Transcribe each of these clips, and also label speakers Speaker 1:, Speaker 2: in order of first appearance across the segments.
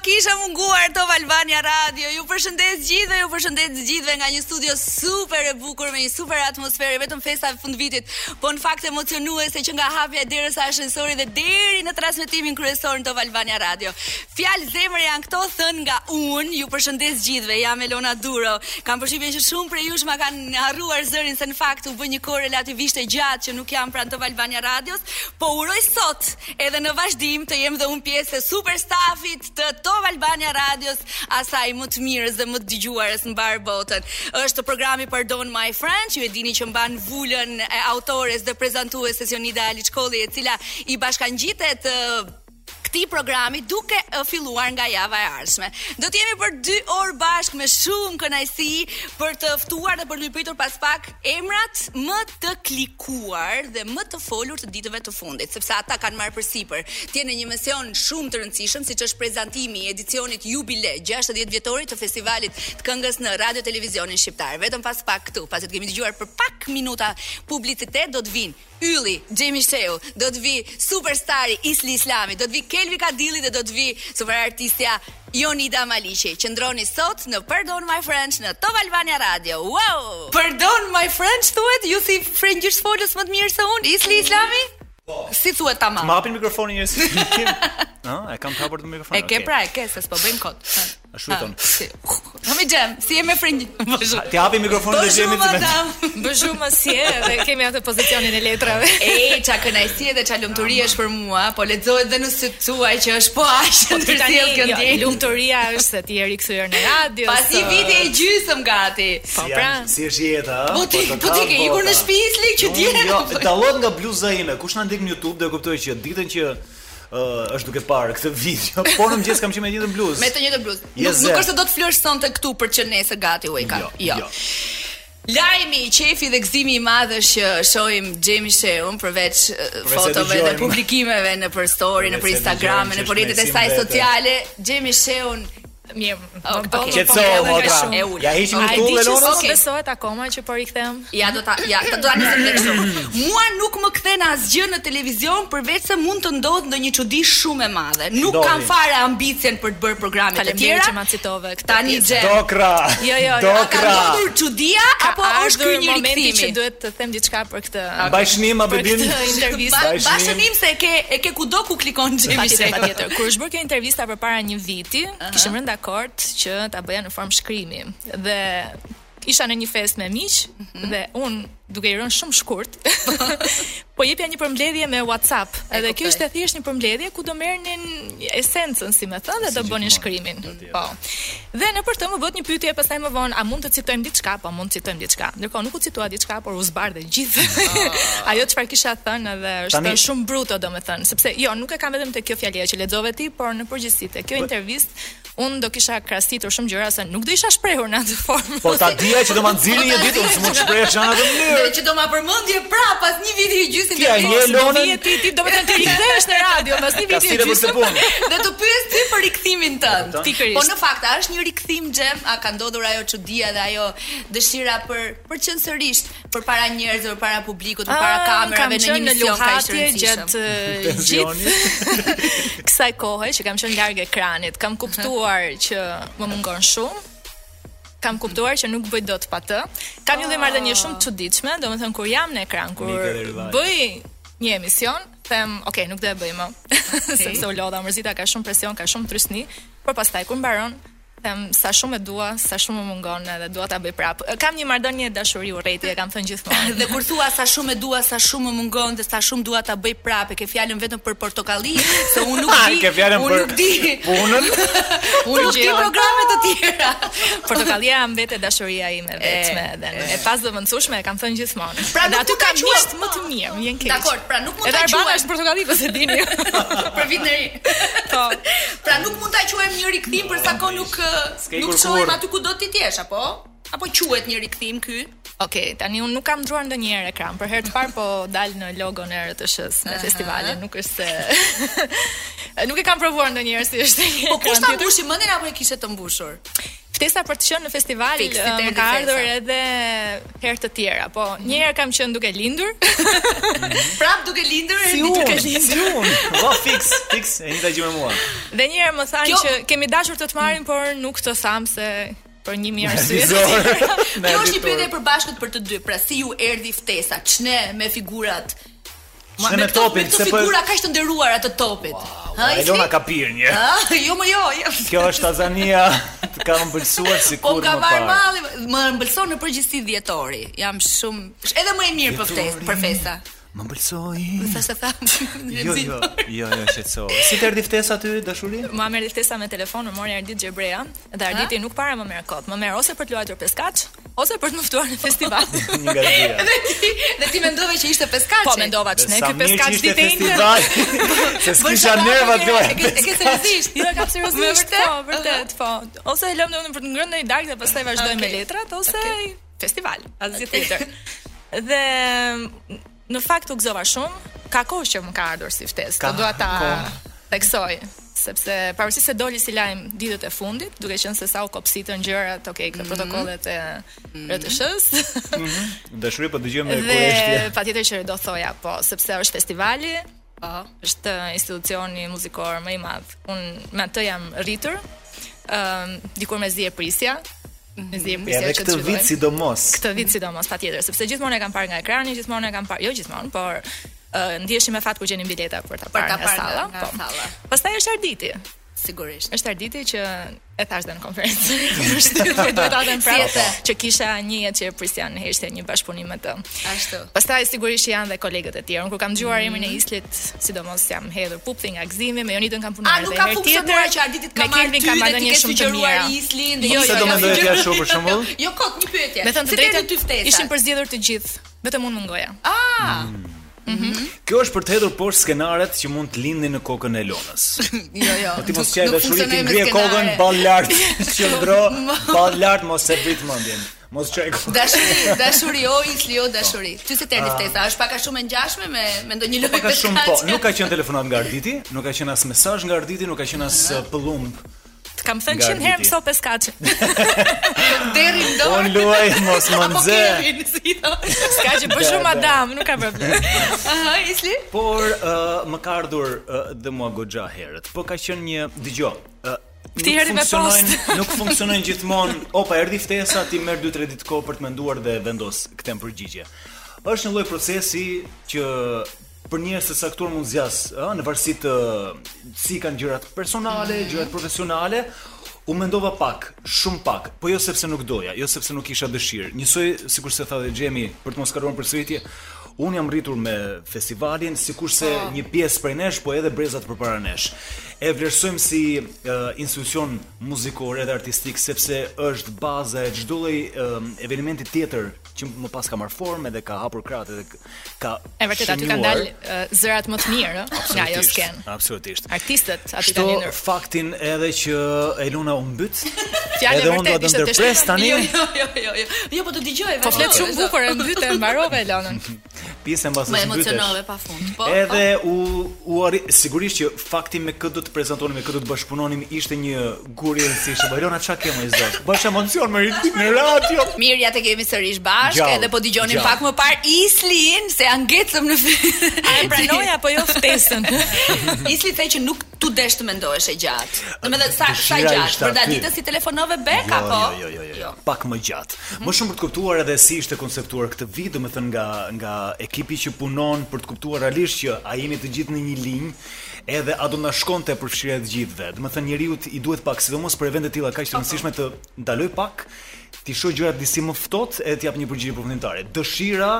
Speaker 1: kisha munguar Top Albania Radio. Ju përshëndes gjithë dhe ju përshëndes gjithëve nga një studio super e bukur me një super atmosferë, vetëm festa e fund vitit, po në fakt emocionuese që nga hapja e derës së ashensorit dhe deri në transmetimin kryesor në Top Albania Radio. Fjalë zemër janë këto thënë nga unë. Ju përshëndes gjithëve. Jam Elona Duro. Kam përshtypjen që shumë prej jush ma kanë harruar zërin se në fakt u bë një kohë relativisht e gjatë që nuk jam pranë Top Albania Radios, po uroj sot edhe në vazhdim të jem dhe unë pjesë e super stafit të Top Albania Radios, asaj më të mirës dhe më të dëgjuarës në barë botën. Është programi Pardon My Friend, që ju e dini që mban vullën e autores dhe prezantuese Sionida Aliçkolli, e cila i bashkangjitet ë, këtij programi duke e, filluar nga java e ardhshme. Do të jemi për 2 orë bashkë me shumë kënaqësi për të ftuar dhe për lypitur pas pak emrat më të klikuar dhe më të folur të ditëve të fundit, sepse ata kanë marrë përsipër. Ti në një mision shumë të rëndësishëm siç është prezantimi i edicionit Jubile 60 vjetorit të festivalit të këngës në Radio Televizionin Shqiptar. Vetëm pas pak këtu, pasi të kemi dëgjuar për pak minuta publicitet do të vinë Ylli, Gjemi Sheu, do të vi superstari Isli Islami, do të vi Kelvi Kadili dhe do të vi superartistja Jonida Maliqi. Qëndroni sot në Pardon My French në Top Albania Radio. Wow! Pardon My French thuhet, ju si frëngjisht folës më të mirë se unë, Isli Islami? Si thuhet tamam?
Speaker 2: Më hapin mikrofonin njerëz. Ëh, e kam hapur të
Speaker 1: E
Speaker 2: mikrofonin.
Speaker 1: ke pra, Ah. e ke se s'po bëjmë kot. Ha.
Speaker 2: A shujton.
Speaker 1: Ha, si- Ha mi gjem, si e me frëngjë.
Speaker 2: Ti hapi mikrofonin
Speaker 1: Po
Speaker 2: dhe jemi me.
Speaker 3: Bëzhu më si e dhe kemi atë pozicionin e letrave.
Speaker 1: E, qa kënajsi dhe qa lumëturi është për mua, po lexohet dhe në sytë tuaj që është po aqë
Speaker 3: Ti tani,
Speaker 1: ndërsi e
Speaker 3: jo,
Speaker 1: këndi.
Speaker 3: lumturia është se ti je rikthyer në radio.
Speaker 1: Pas
Speaker 3: se-
Speaker 1: një viti e gjysëm gati.
Speaker 3: Po
Speaker 2: Si
Speaker 3: pra.
Speaker 2: janë- Si është jeta, ëh?
Speaker 1: Po ti, po ti ke ikur në shtëpi po. isli që ti je.
Speaker 2: Jo, dallohet nga bluza ime. Kush na ndek në YouTube do e kuptoj që ditën që ë, është duke parë këtë video, po në mëngjes kam qenë me ditën bluzë.
Speaker 1: Me të njëjtën bluzë.
Speaker 2: Je
Speaker 1: Nuk, nuk
Speaker 2: zer.
Speaker 1: është se do të flësh sonte këtu për që nesër gati u e ka.
Speaker 2: Jo, jo.
Speaker 1: Lajmi, qefi dhe gëzimi i madh është që shohim Xhemi Sheun përveç eh,
Speaker 2: Përveç se
Speaker 1: fotove dhe
Speaker 2: dëgjojmë.
Speaker 1: publikimeve në për story, në
Speaker 2: Përveç
Speaker 1: për
Speaker 2: se
Speaker 1: Instagram,
Speaker 2: dëgjojmë
Speaker 1: në
Speaker 2: që
Speaker 1: për rrjetet e
Speaker 2: është
Speaker 1: saj
Speaker 2: mecim
Speaker 1: sociale, Xhemi Sheun
Speaker 3: Mirë.
Speaker 1: Ok,
Speaker 3: po,
Speaker 1: ok.
Speaker 3: po,
Speaker 2: Qetëso,
Speaker 3: po, edhe ka
Speaker 2: motra.
Speaker 3: shumë.
Speaker 1: E ullë.
Speaker 2: Ja hiqim
Speaker 3: A
Speaker 2: në
Speaker 3: e di
Speaker 2: tullë
Speaker 3: që
Speaker 2: Elona.
Speaker 3: sot
Speaker 1: Okej.
Speaker 3: besohet akoma që po rikthehem?
Speaker 1: Ja do ta ja ta do ta nisem tek
Speaker 3: Mm.
Speaker 1: shumë. Mua nuk më kthen asgjë në televizion përveç se mund të ndodh ndonjë çudi shumë e madhe. Nuk
Speaker 2: Ndodhi.
Speaker 1: kam fare ambicien për të bërë programe të
Speaker 3: Faleminderit që ma
Speaker 1: tjera.
Speaker 3: citove këtë
Speaker 1: Tani
Speaker 3: pjesë.
Speaker 1: xhe.
Speaker 2: Dokra.
Speaker 3: Jo, jo, jo,
Speaker 2: Dokra.
Speaker 1: A ka ndodhur çudia apo
Speaker 3: Ka
Speaker 1: është ky
Speaker 3: ardhur
Speaker 1: një
Speaker 3: momenti që
Speaker 1: rikthimi?
Speaker 3: duhet të them diçka për këtë.
Speaker 2: Bashnim a
Speaker 3: për
Speaker 2: bedin.
Speaker 3: këtë intervistë.
Speaker 1: Ba-
Speaker 2: Bashkënim.
Speaker 1: Bashkënim se e ke e ke kudo ku klikon xhemi
Speaker 3: Patjetër, patjetër. Kur është bërë kjo intervista përpara një viti, kishim rënë dakord që ta bëja në formë shkrimi. Dhe isha në një festë me miq dhe un duke i rënë shumë shkurt, po jepja një përmbledhje me WhatsApp. Edhe kjo
Speaker 1: kuptoj.
Speaker 3: ishte thjesht një përmbledhje ku do merrnin esencën, si më thënë, dhe do bënin shkrimin. Po. Dhe në për të më vët një pyetje pastaj më vonë, a mund të citojmë diçka, po mund të citojmë diçka. Ndërkohë nuk u citua diçka, por u zbardhe gjithë. Ajo çfarë kisha thënë edhe është
Speaker 2: Tani-
Speaker 3: shumë bruto domethënë, sepse jo, nuk e kam vetëm te kjo fjalia që lexove ti, por në përgjithësi te
Speaker 2: Po-
Speaker 3: kjo intervistë un do kisha krahasitur shumë gjëra se nuk do isha shprehur në atë formë.
Speaker 2: Po ta dija që do ma nxirrni një ditë, unë s'mund të shpreh çana të
Speaker 1: Dhe
Speaker 2: mënyrë.
Speaker 1: që do ma përmendje prap pas një viti i gjysmë
Speaker 2: Kja,
Speaker 1: të
Speaker 2: një
Speaker 1: mos-
Speaker 2: Elonën-
Speaker 3: Vije ti, ti domethënë ti rikthehesh në radio mbas një
Speaker 2: Ka
Speaker 3: viti
Speaker 2: stile për të punë.
Speaker 1: dhe të pyes ti për rikthimin tënd.
Speaker 2: kupton?
Speaker 3: Pikërisht.
Speaker 1: Po në fakt a është një rikthim xhem, a ka ndodhur ajo çudia dhe ajo dëshira për për qëndësërisht përpara njerëzve, përpara publikut, përpara kamerave në një mision kaq të rëndësishëm.
Speaker 3: gjatë e,
Speaker 2: Tensioni.
Speaker 3: gjithë kësaj kohe që kam qenë larg ekranit. Kam kuptuar që më mungon shumë. Kam kuptuar që nuk bëj dot pa të. Kam një dhe marrëdhënie shumë të çuditshme, domethënë kur jam në ekran,
Speaker 2: Mika
Speaker 3: kur
Speaker 2: dhe rivaj.
Speaker 3: bëj një emision, them, ok, nuk do e bëj më. Sepse u lodha mërzita, ka shumë presion, ka shumë trysni, por pastaj kur mbaron, them sa shumë e dua, sa shumë më mungon edhe dua ta bëj prapë. Kam një marrëdhënie dashuri urrëti, e kam thënë gjithmonë.
Speaker 1: Dhe kur thua sa shumë e dua, sa shumë më mungon dhe sa shumë dua ta bëj prapë, ke fjalën vetëm për portokalli, se unë nuk di.
Speaker 2: Ke fjalën
Speaker 1: unë
Speaker 2: për
Speaker 1: nuk di.
Speaker 2: punën.
Speaker 1: Unë nuk di
Speaker 3: Gjeon.
Speaker 1: programe të tjera.
Speaker 3: Portokallia mbet e dashuria ime vetme dhe e, e pas e kam thënë gjithmonë.
Speaker 1: Pra
Speaker 3: dhe
Speaker 1: nuk mund ta
Speaker 3: aty kam
Speaker 1: quajmë-
Speaker 3: miqt më të mirë, më vjen keq.
Speaker 1: Dakor, pra nuk mund
Speaker 3: Edhe
Speaker 1: ta
Speaker 3: Arbana
Speaker 1: quajmë.
Speaker 3: është portokalli po se dini.
Speaker 1: për vit në ri.
Speaker 3: Po.
Speaker 1: pra nuk mund ta quajmë një rikthim përsa kohë nuk
Speaker 2: Po,
Speaker 1: uh,
Speaker 2: S'ke
Speaker 1: nuk
Speaker 2: ikur
Speaker 1: shohim
Speaker 2: kur.
Speaker 1: aty ku do ti të jesh apo? Apo quhet një rikthim ky?
Speaker 3: Okej, tani unë nuk kam ndruar ndonjëherë ekran. Për herë të parë po dal në logon e RTS-s në festivale, nuk është se nuk e kam provuar ndonjëherë si është. një
Speaker 1: Po
Speaker 3: ekran
Speaker 1: kush ta
Speaker 3: tjetër.
Speaker 1: mbushi mendin apo e kishe të mbushur?
Speaker 3: Ftesa për të qenë në festival
Speaker 1: Fix, si
Speaker 3: eh,
Speaker 1: të
Speaker 3: më
Speaker 1: erdhi
Speaker 3: ka ardhur
Speaker 1: ftesa.
Speaker 3: edhe herë të tjera, po
Speaker 1: Mhm.
Speaker 3: një herë kam qenë duke lindur.
Speaker 1: Prap duke lindur
Speaker 2: Si
Speaker 1: erdi duke
Speaker 2: unë,
Speaker 1: lindur.
Speaker 2: si unë. Va fix, fix, e njëta gjë me mua.
Speaker 3: Dhe një herë më thanë
Speaker 1: Kjo-
Speaker 3: që kemi dashur të të marrim, por nuk të tham se për një mirë arsye.
Speaker 2: Me
Speaker 1: Kjo është një
Speaker 2: editor.
Speaker 1: pyetje e përbashkët për të dy. Pra si ju erdhi ftesa? Ç'ne me figurat? Ma-
Speaker 2: Ç'ne me
Speaker 1: këto-
Speaker 2: topin,
Speaker 1: me këto
Speaker 2: se po-
Speaker 1: figura kaq të nderuara të topit. Ha, i
Speaker 2: Elona
Speaker 1: si?
Speaker 2: ka pirë një.
Speaker 1: Ah, jo më jo. jo.
Speaker 2: Kjo është Tanzania, të ka mbëlsuar
Speaker 1: Po
Speaker 2: sikur
Speaker 1: më ka
Speaker 2: më
Speaker 1: marrë
Speaker 2: parë.
Speaker 1: malli, më mbëlson në përgjithësi dhjetori. Jam shumë është edhe më e mirë për ftesë, për festa.
Speaker 2: Më mbëlsoi.
Speaker 1: Sa se tham.
Speaker 2: Jo, jo, jo, jo, shqetëso. Si të erdhi ftesa aty dashuri?
Speaker 3: Mua merr ftesa me telefon, më mori Ardit Xhebrea, dhe Arditi nuk para më merr kot. Më merr ose për të luajtur peskaç, ose për të më ftuar në festival.
Speaker 2: Një nga dyja.
Speaker 1: Dhe ti, dhe ti mendove që ishte peskaçi.
Speaker 3: po mendova që ne
Speaker 2: Sa
Speaker 3: ky
Speaker 2: mirë që
Speaker 3: peskaç
Speaker 2: ishte
Speaker 3: ditë njëjtë.
Speaker 2: festivali, Se s'kisha nerva të
Speaker 1: E ke e ke seriozisht?
Speaker 3: Jo, e kam seriozisht.
Speaker 1: Me vërtet?
Speaker 3: Po, vërtet, po. Ose e lëm në unë për të ngrënë në i darkë dhe pastaj vazhdojmë
Speaker 1: Okej.
Speaker 3: me letrat ose
Speaker 1: Okej.
Speaker 3: festival, asgjë tjetër. Dhe në fakt u gëzova shumë, ka kohë që më ka ardhur si ftesë.
Speaker 2: Ka
Speaker 3: Të dua ta
Speaker 2: kohë.
Speaker 3: theksoj sepse pavarësisht se doli si lajm ditët e fundit, duke qenë se sa u kopsitën gjërat, okay, këto protokollet e RTS-s,
Speaker 2: Dashuri po dëgjojmë me
Speaker 3: dhe
Speaker 2: kuriozitete.
Speaker 3: patjetër që do thoja po, sepse është festivali,
Speaker 1: Po.
Speaker 3: është institucioni muzikor më i madh. Unë me atë jam rritur. Ëm dikur mezi e prisja. Mezi e prisja
Speaker 2: Edhe
Speaker 3: që
Speaker 2: këtë
Speaker 3: të
Speaker 2: vit sidomos.
Speaker 3: këtë vit sidomos patjetër, sepse gjithmonë e kam parë nga ekrani, gjithmonë e kam parë, jo gjithmonë, por ë, ndjeshim me fat kur gjenim bileta për ta
Speaker 1: Për
Speaker 3: parë
Speaker 1: ta
Speaker 3: nga
Speaker 1: parë
Speaker 3: salla.
Speaker 1: nga
Speaker 3: po.
Speaker 1: salla.
Speaker 3: Pastaj është Arditi.
Speaker 1: Sigurisht.
Speaker 3: Është Arditi që e thash dhe në konferencë. Është duhet ta them
Speaker 1: Si e the?
Speaker 3: prapë që kisha një jetë që e prisja në heshtje një bashkëpunim me të.
Speaker 1: Ashtu.
Speaker 3: Pastaj sigurisht që janë dhe kolegët e tjerë. Unë kur kam dëgjuar
Speaker 1: Mhm.
Speaker 3: emrin e Islit, sidomos jam hedhur pupthi nga gëzimi, me Jonitën kam punuar
Speaker 1: A nuk
Speaker 3: edhe
Speaker 1: ka
Speaker 3: herë
Speaker 1: funksionuar që Arditit ka
Speaker 3: me
Speaker 1: marrë ty
Speaker 3: Kelvin kam
Speaker 1: dhe
Speaker 3: marrë
Speaker 1: ti
Speaker 3: një
Speaker 1: ke
Speaker 3: shumë të
Speaker 1: sugjeruar
Speaker 3: mira.
Speaker 1: Islin
Speaker 3: Jo,
Speaker 2: Se
Speaker 3: jo,
Speaker 2: do
Speaker 3: jo,
Speaker 2: mendoje
Speaker 3: jo.
Speaker 2: ti ashtu për shembull?
Speaker 1: Jo kot një pyetje.
Speaker 3: Me thënë të
Speaker 1: Si erdhi ty
Speaker 3: drejtën,
Speaker 1: ftesa.
Speaker 3: ishin përzgjedhur të gjithë, vetëm unë mungoja.
Speaker 1: Ah,
Speaker 2: Kjo është për të hedhur poshtë skenaret që mund të lindin në kokën e Elonës.
Speaker 1: jo, jo.
Speaker 2: Po Ti mos
Speaker 1: nuk-
Speaker 2: qaj
Speaker 1: nuk
Speaker 2: dashuri ti
Speaker 1: funksionoi me
Speaker 2: ngre kokën
Speaker 1: skenare.
Speaker 2: ball lart, qëndro ball lart mos e prit mendjen. Mos çaj kokën.
Speaker 1: Dashuri, dashuri o Isli o dashuri. Ty se
Speaker 2: Ah.
Speaker 1: terni ftesa, është pak a shumë e ngjashme me me ndonjë lloj
Speaker 2: Po ka shumë po,
Speaker 1: peskaçe?
Speaker 2: nuk ka qenë telefonat nga Arditi, nuk ka qenë as mesazh nga Arditi, nuk ka qenë as uh, pëllumb.
Speaker 3: Të kam thënë
Speaker 2: Nga
Speaker 3: 100 herë
Speaker 2: Arditi.
Speaker 3: mëso peskaçe.
Speaker 1: deri në dorë.
Speaker 2: On Po, luaj mos më
Speaker 1: Apo
Speaker 2: nxe.
Speaker 1: Kevin, si i thon.
Speaker 3: Ska që bësh shumë madam, nuk ka problem.
Speaker 1: Aha, Isli.
Speaker 2: Por uh, më ka ardhur uh, dhe mua goxha herët. Po ka qenë një dëgjoj. Uh,
Speaker 3: Ti erdhi me post.
Speaker 2: nuk funksionojnë gjithmonë. Opa, erdhi ftesa, ti merr 2-3 ditë kohë për të menduar dhe vendos këtë në përgjigje. Është një lloj procesi që për njerëz të caktuar mund zgjas, ë, në varësi të si kanë gjërat personale, gjërat profesionale. U mendova pak, shumë pak, po jo sepse nuk doja, jo sepse nuk kisha dëshirë. Njësoj sikur se tha dhe Xhemi për të mos kaluar përsëritje, Unë jam rritur me festivalin, sikurse
Speaker 3: Ah.
Speaker 2: një pjesë prej nesh, po edhe brezat përpara nesh. E vlerësojmë si uh, institucion muzikor edhe artistik sepse është baza e çdo lloj um, evenimenti tjetër që më pas ka marrë formë edhe ka hapur krahat edhe k- ka
Speaker 3: E vërtet aty
Speaker 2: shënuar.
Speaker 3: kanë dalë ë, zërat më të mirë ë, nga ajo
Speaker 2: Absolutisht,
Speaker 3: sken.
Speaker 2: Absolutisht.
Speaker 3: Artistët aty
Speaker 2: Kështu
Speaker 3: kanë lindur.
Speaker 2: faktin edhe që Elona u mbyt.
Speaker 3: Fjalë
Speaker 2: edhe
Speaker 3: e
Speaker 2: unë dua
Speaker 3: vërtet,
Speaker 2: të
Speaker 3: ishte
Speaker 2: ndërpres
Speaker 3: dëshira.
Speaker 2: tani
Speaker 1: Jo, jo, jo, jo, jo. Jo, po të dëgjoj.
Speaker 3: Po
Speaker 1: vazhdo,
Speaker 3: flet shumë
Speaker 1: vazhdo.
Speaker 3: bukur, e mbytë, e mbarove Elonën.
Speaker 2: pjesën mbas
Speaker 1: Më
Speaker 2: së mbytesh.
Speaker 1: emocionove pafund. Po.
Speaker 2: Edhe u u arri, sigurisht që fakti me këtë do të prezantonim, me këtë do të bashkëpunonim ishte një gurje e rëndësishme. Elona çka ke më i zot? Bësh emocion me ritmin në radio.
Speaker 1: Mirë, ja të kemi sërish bashkë,
Speaker 2: Gjallë,
Speaker 1: edhe po dëgjonim
Speaker 2: gjallë.
Speaker 1: pak më parë Islin, se ja ngecëm në fjalë.
Speaker 3: E pranoj
Speaker 1: po
Speaker 3: apo jo ftesën?
Speaker 1: Isli the që nuk tu desh të mendohesh e gjatë. Domethënë sa sa
Speaker 2: Dëshira
Speaker 1: gjatë,
Speaker 2: ishte
Speaker 1: për
Speaker 2: aty.
Speaker 1: ditën si telefonove po? Bek
Speaker 2: Jo,
Speaker 1: apo?
Speaker 2: jo, jo, jo, jo, jo, pak më gjatë. Më shumë për të kuptuar edhe si ishte konceptuar këtë vit, domethënë nga nga ekipi që punon për të kuptuar realisht që a jemi të gjithë në një linjë, edhe a do na shkonte përfshirja e të gjithëve. Domethënë njeriu t- i duhet pak, sidomos për evente të tilla kaq të rëndësishme të ndaloj pak, ti shoh gjërat disi më ftohtë edhe të jap një përgjigje përfundimtare. Dëshira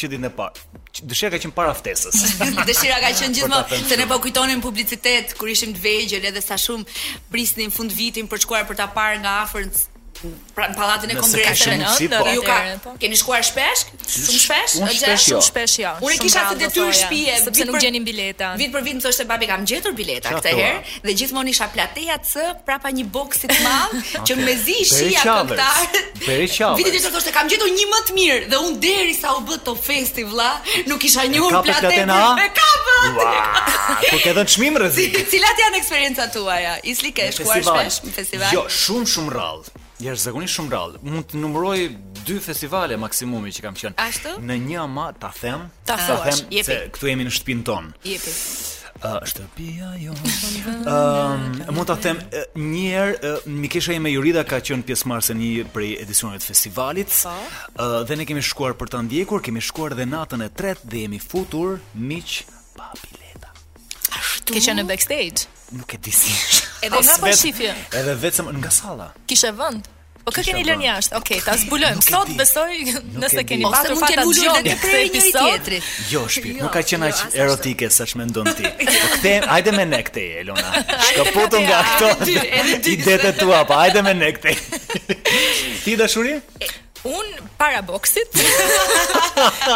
Speaker 2: që ditën e parë. që- Dëshira ka qenë para ftesës.
Speaker 1: Jo. Dëshira ka qenë
Speaker 2: Për ta
Speaker 1: gjithmonë
Speaker 2: thënë
Speaker 1: se ne po kujtonim publicitet kur ishim të vegjël edhe sa shumë prisnin fund vitin për shkuar për ta parë nga afër pra në pallatin e
Speaker 2: Nëse ka
Speaker 1: kongreseve
Speaker 2: shumë mundësi, po.
Speaker 1: ju ka
Speaker 3: Atëherë, po.
Speaker 1: keni shkuar shpesh? Shumë shpesh?
Speaker 2: Unë
Speaker 1: O,
Speaker 2: shpesh
Speaker 1: Gjergj?
Speaker 2: jo.
Speaker 3: Shumë shpesh jo.
Speaker 1: Unë
Speaker 3: shumë
Speaker 1: kisha
Speaker 3: rrallë
Speaker 1: të
Speaker 3: do
Speaker 1: detyrë
Speaker 3: thoja,
Speaker 1: shtëpi e
Speaker 3: sepse nuk gjenin bileta.
Speaker 1: Vit për vit më thoshte babi kam gjetur bileta
Speaker 2: Qa
Speaker 1: këtë
Speaker 2: thua?
Speaker 1: herë dhe gjithmonë isha plateja C prapa një boksi të madh që
Speaker 2: Okej.
Speaker 1: mezi i
Speaker 2: Beri
Speaker 1: shija
Speaker 2: Qavers.
Speaker 1: këngëtarët.
Speaker 2: Beri Qavers.
Speaker 1: Vitin tjetër thoshte kam gjetur një më të mirë dhe unë derisa u bë top festi vlla, nuk kisha njohur
Speaker 2: kape
Speaker 1: platen.
Speaker 2: platen A?
Speaker 1: E kapët.
Speaker 2: Ua, ku ke dhënë çmim rrezik.
Speaker 1: Cilat janë eksperiencat tuaja? Isli ke shkuar shpesh në festival?
Speaker 2: Jo, shumë shumë rrallë. Jashtëzakonisht shumë rrallë. Mund të numëroj dy festivale maksimumi që kam qenë.
Speaker 1: Ashtu?
Speaker 2: Në një ama ta them,
Speaker 3: Ta thuash,
Speaker 2: them
Speaker 1: jepi.
Speaker 2: se këtu jemi në shtëpinë tonë.
Speaker 1: Jepi.
Speaker 2: Uh, shtëpia jo. Ëm mund ta them uh, një herë uh, Mikesha ime Jurida ka qenë pjesëmarrëse në një prej edicioneve të festivalit.
Speaker 1: Po.
Speaker 2: Uh, dhe ne kemi shkuar për ta ndjekur, kemi shkuar dhe natën e tretë dhe jemi futur miq pa bileta.
Speaker 3: Ke qenë në backstage.
Speaker 2: Nuk e di si.
Speaker 3: Edhe
Speaker 2: As
Speaker 3: nga
Speaker 2: vet-
Speaker 3: përshifje.
Speaker 2: Edhe vetëm nga salla.
Speaker 3: Kishe vend. Po kë
Speaker 2: Kisha
Speaker 3: keni lënë
Speaker 2: vend.
Speaker 3: jashtë? Okej, ta zbulojmë.
Speaker 2: Nuk e
Speaker 3: Sot
Speaker 2: di.
Speaker 3: besoj
Speaker 2: Nuk e
Speaker 3: nëse
Speaker 2: di. Po,
Speaker 3: keni
Speaker 2: Ose
Speaker 1: Ose
Speaker 3: patur
Speaker 1: mund të
Speaker 3: fatat
Speaker 1: lulur
Speaker 3: dëgjoni
Speaker 1: edhe
Speaker 3: këtë
Speaker 1: prej njëri
Speaker 3: episod.
Speaker 1: tjetrit.
Speaker 2: Jo, shpirë,
Speaker 1: Jo,
Speaker 2: nuk ka qenë
Speaker 1: jo,
Speaker 2: aq
Speaker 1: as ashtu.
Speaker 2: erotike sa që mendon ti. Po kthehem, hajde me ne këtej, Elona. Shkëputu nga këto
Speaker 1: edhe dy, edhe dy.
Speaker 2: idetë tua, pa hajde me ne këtej. Ti dashuri?
Speaker 3: Un para boksit.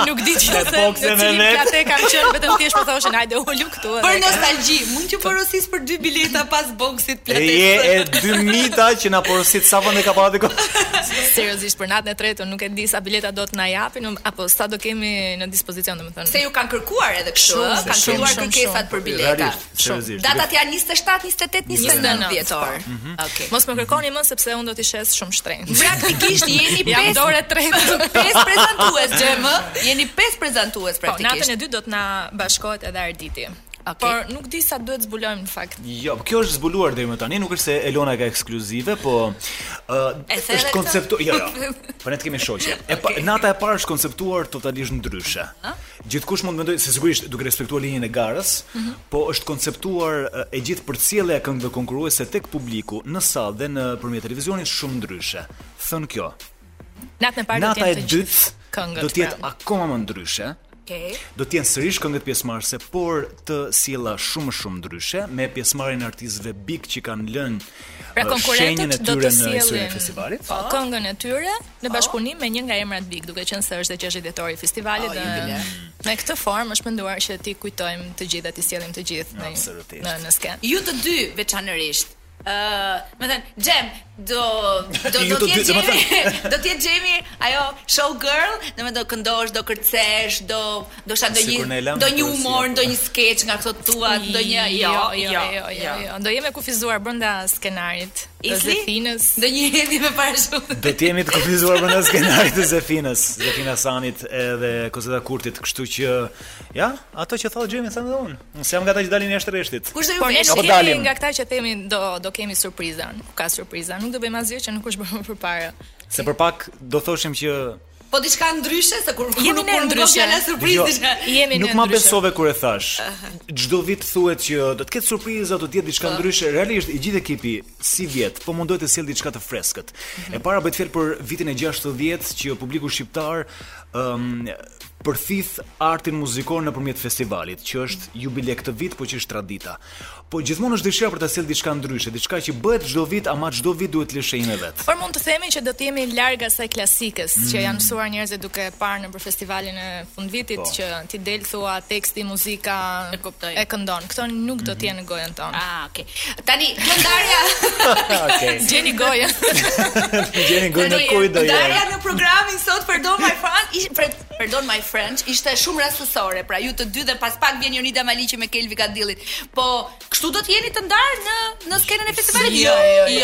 Speaker 3: Nuk di që
Speaker 2: Me
Speaker 3: se në
Speaker 2: boksin e
Speaker 3: cilin
Speaker 2: vet.
Speaker 3: plate kam qenë vetëm thjesht më thoshin hajde ulu këtu. edhe
Speaker 1: Për nostalgji, mund t'ju porosis për dy bileta pas boksit
Speaker 2: E je
Speaker 1: plates.
Speaker 2: e dy mita që na porosit sa vende ka pallati ko.
Speaker 3: Seriozisht për natën e tretë unë nuk e di sa bileta do të na japin um, apo sa do kemi në dispozicion domethënë.
Speaker 1: Se ju kanë kërkuar edhe kështu,
Speaker 3: Shumë,
Speaker 1: ë?
Speaker 3: se
Speaker 1: kanë
Speaker 3: shumë,
Speaker 1: kërkuar
Speaker 3: shumë,
Speaker 1: kërkesat
Speaker 3: shumë.
Speaker 1: për bileta.
Speaker 2: Realisht, seriozisht.
Speaker 1: Datat janë 27, 28, 29
Speaker 3: 29
Speaker 1: dhjetor. Okej.
Speaker 3: po. Mhm. Mos më kërkoni më sepse unë do t'i shes shumë shtrenjtë.
Speaker 1: Praktikisht jeni
Speaker 3: Jam
Speaker 1: 5
Speaker 3: dorë e tretë.
Speaker 1: 5 prezantues, Gjemë. Jeni 5 prezantues
Speaker 3: Po, natën
Speaker 1: praktikisht.
Speaker 3: e dytë do të na bashkohet edhe Arditi.
Speaker 1: Okej.
Speaker 3: Por nuk di sa duhet zbulojmë në fakt.
Speaker 2: Jo, kjo është zbuluar deri më tani, nuk është se Elona ka ekskluzive, po ë
Speaker 1: E the edhe këtë?
Speaker 2: është konceptuar, jo, jo. Po ne të kemi shoqe. E pa, nata e parë është konceptuar totalisht ndryshe. Gjithkush mund të mendojë se sigurisht duke respektuar linjën e garës,
Speaker 3: Mhm.
Speaker 2: po është konceptuar ë, e gjithë përcjellja e këngëve konkuruese tek publiku në sallë dhe nëpërmjet televizionit shumë ndryshe. Thën kjo.
Speaker 3: Natën e parë do të
Speaker 2: Nata e
Speaker 3: jenë të
Speaker 2: dytë
Speaker 3: këngët,
Speaker 2: do të jetë
Speaker 3: pra.
Speaker 2: akoma më ndryshe.
Speaker 1: Okej.
Speaker 2: Do të jenë sërish këngët pjesëmarrëse, por të sjella shumë shumë ndryshe me pjesëmarrjen e artistëve big që kanë lënë
Speaker 3: Pra
Speaker 2: uh, shenjën e
Speaker 3: konkurrentët do
Speaker 2: tyre në
Speaker 3: të
Speaker 2: historinë e
Speaker 3: sjellin
Speaker 2: festivalit.
Speaker 3: Po, këngën e tyre në
Speaker 1: Po.
Speaker 3: bashkëpunim me një nga emrat big, duke qenë se është dhe 60 dhjetori i festivalit
Speaker 1: Oh,
Speaker 3: dhe
Speaker 1: jubile.
Speaker 3: me këtë formë është menduar që ti kujtojmë të gjithë dhe ti sjellim të gjithë në
Speaker 2: Absolutisht.
Speaker 3: në në sken.
Speaker 1: Ju të dy veçanërisht. Ë, më thënë, Gjem, do do
Speaker 2: Ju
Speaker 1: do të
Speaker 2: të
Speaker 1: jetë
Speaker 2: dy,
Speaker 1: Gjemi,
Speaker 2: domethënë.
Speaker 1: do të jetë Gjemi ajo show girl, do do këndosh, do kërcesh, do do sha
Speaker 2: Sikur ne
Speaker 1: ndonjë
Speaker 2: e
Speaker 1: ndonjë
Speaker 2: lëm atë si
Speaker 1: humor,
Speaker 2: apo-
Speaker 1: ndonjë sketch nga këto tua, ndonjë jo, jo, jo, jo.
Speaker 3: Do jemi kufizuar brenda skenarit të
Speaker 1: Isli?
Speaker 3: Zefinës.
Speaker 1: Ndonjë hedhje me parashut.
Speaker 2: Do të jemi të kufizuar brenda skenarit të Zefinës, Zefina Sanit edhe Kozeta Kurtit, kështu që ja, ato që thotë Xhemi thamë dhe unë. Unë s'jam nga ata që dalin jashtë rreshtit.
Speaker 1: Kush do ju
Speaker 3: Por ne
Speaker 1: vesh?
Speaker 3: nuk
Speaker 2: Apo
Speaker 3: kemi
Speaker 2: Po dalim.
Speaker 3: nga këta që themi do do kemi surpriza, nuk ka surpriza, nuk do bëjmë asgjë që nuk është bërë përpara.
Speaker 2: Se për pak do thoshim që
Speaker 1: Po diçka ndryshe se kur kur
Speaker 3: Jemi
Speaker 1: nuk po
Speaker 3: ne
Speaker 1: kur
Speaker 3: ndryshe.
Speaker 1: ndryshe, surprizë
Speaker 2: Jo.
Speaker 1: diçka.
Speaker 3: Jemi
Speaker 2: nuk
Speaker 3: ne
Speaker 2: ma
Speaker 3: ndryshe.
Speaker 2: besove kur e thash. Çdo vit thuhet që do të ketë surpriza, do të jetë diçka ndryshe. Realisht i gjithë ekipi si vjet, po mundohet të sjellë diçka të freskët. E para bëhet fjalë për vitin e 60 që publiku shqiptar ëm përthith artin muzikor nëpërmjet festivalit, që është jubile këtë vit, po që është tradita. Po gjithmonë është dëshira për ta sjellë diçka ndryshe, diçka që bëhet çdo vit, ama çdo vit duhet të lëshë një vet.
Speaker 3: Por mund të themi që do të jemi larg asaj klasikës që
Speaker 2: Mm.
Speaker 3: janë mësuar njerëzit duke parë nëpër festivalin e fundvitit
Speaker 2: Po.
Speaker 3: që ti del thua teksti, muzika,
Speaker 1: E kuptoj.
Speaker 3: e këndon. Këto nuk do të jenë në gojën tonë.
Speaker 1: Ah, okay. Tani, kjo ndarja
Speaker 2: Okej.
Speaker 3: Gjeni gojën.
Speaker 2: Gjeni gojë në kuj do
Speaker 1: Ndarja
Speaker 2: jetë.
Speaker 1: në programin sot Pardon My Friend, ish, pre, Pardon My French, ishte shumë rastësore. Pra ju të dy dhe pas pak vjen Jonida Maliqi me Kelvi Kadillin. Po, kështu do të jeni të ndarë në në skenën e festivalit? Jo,
Speaker 2: jo,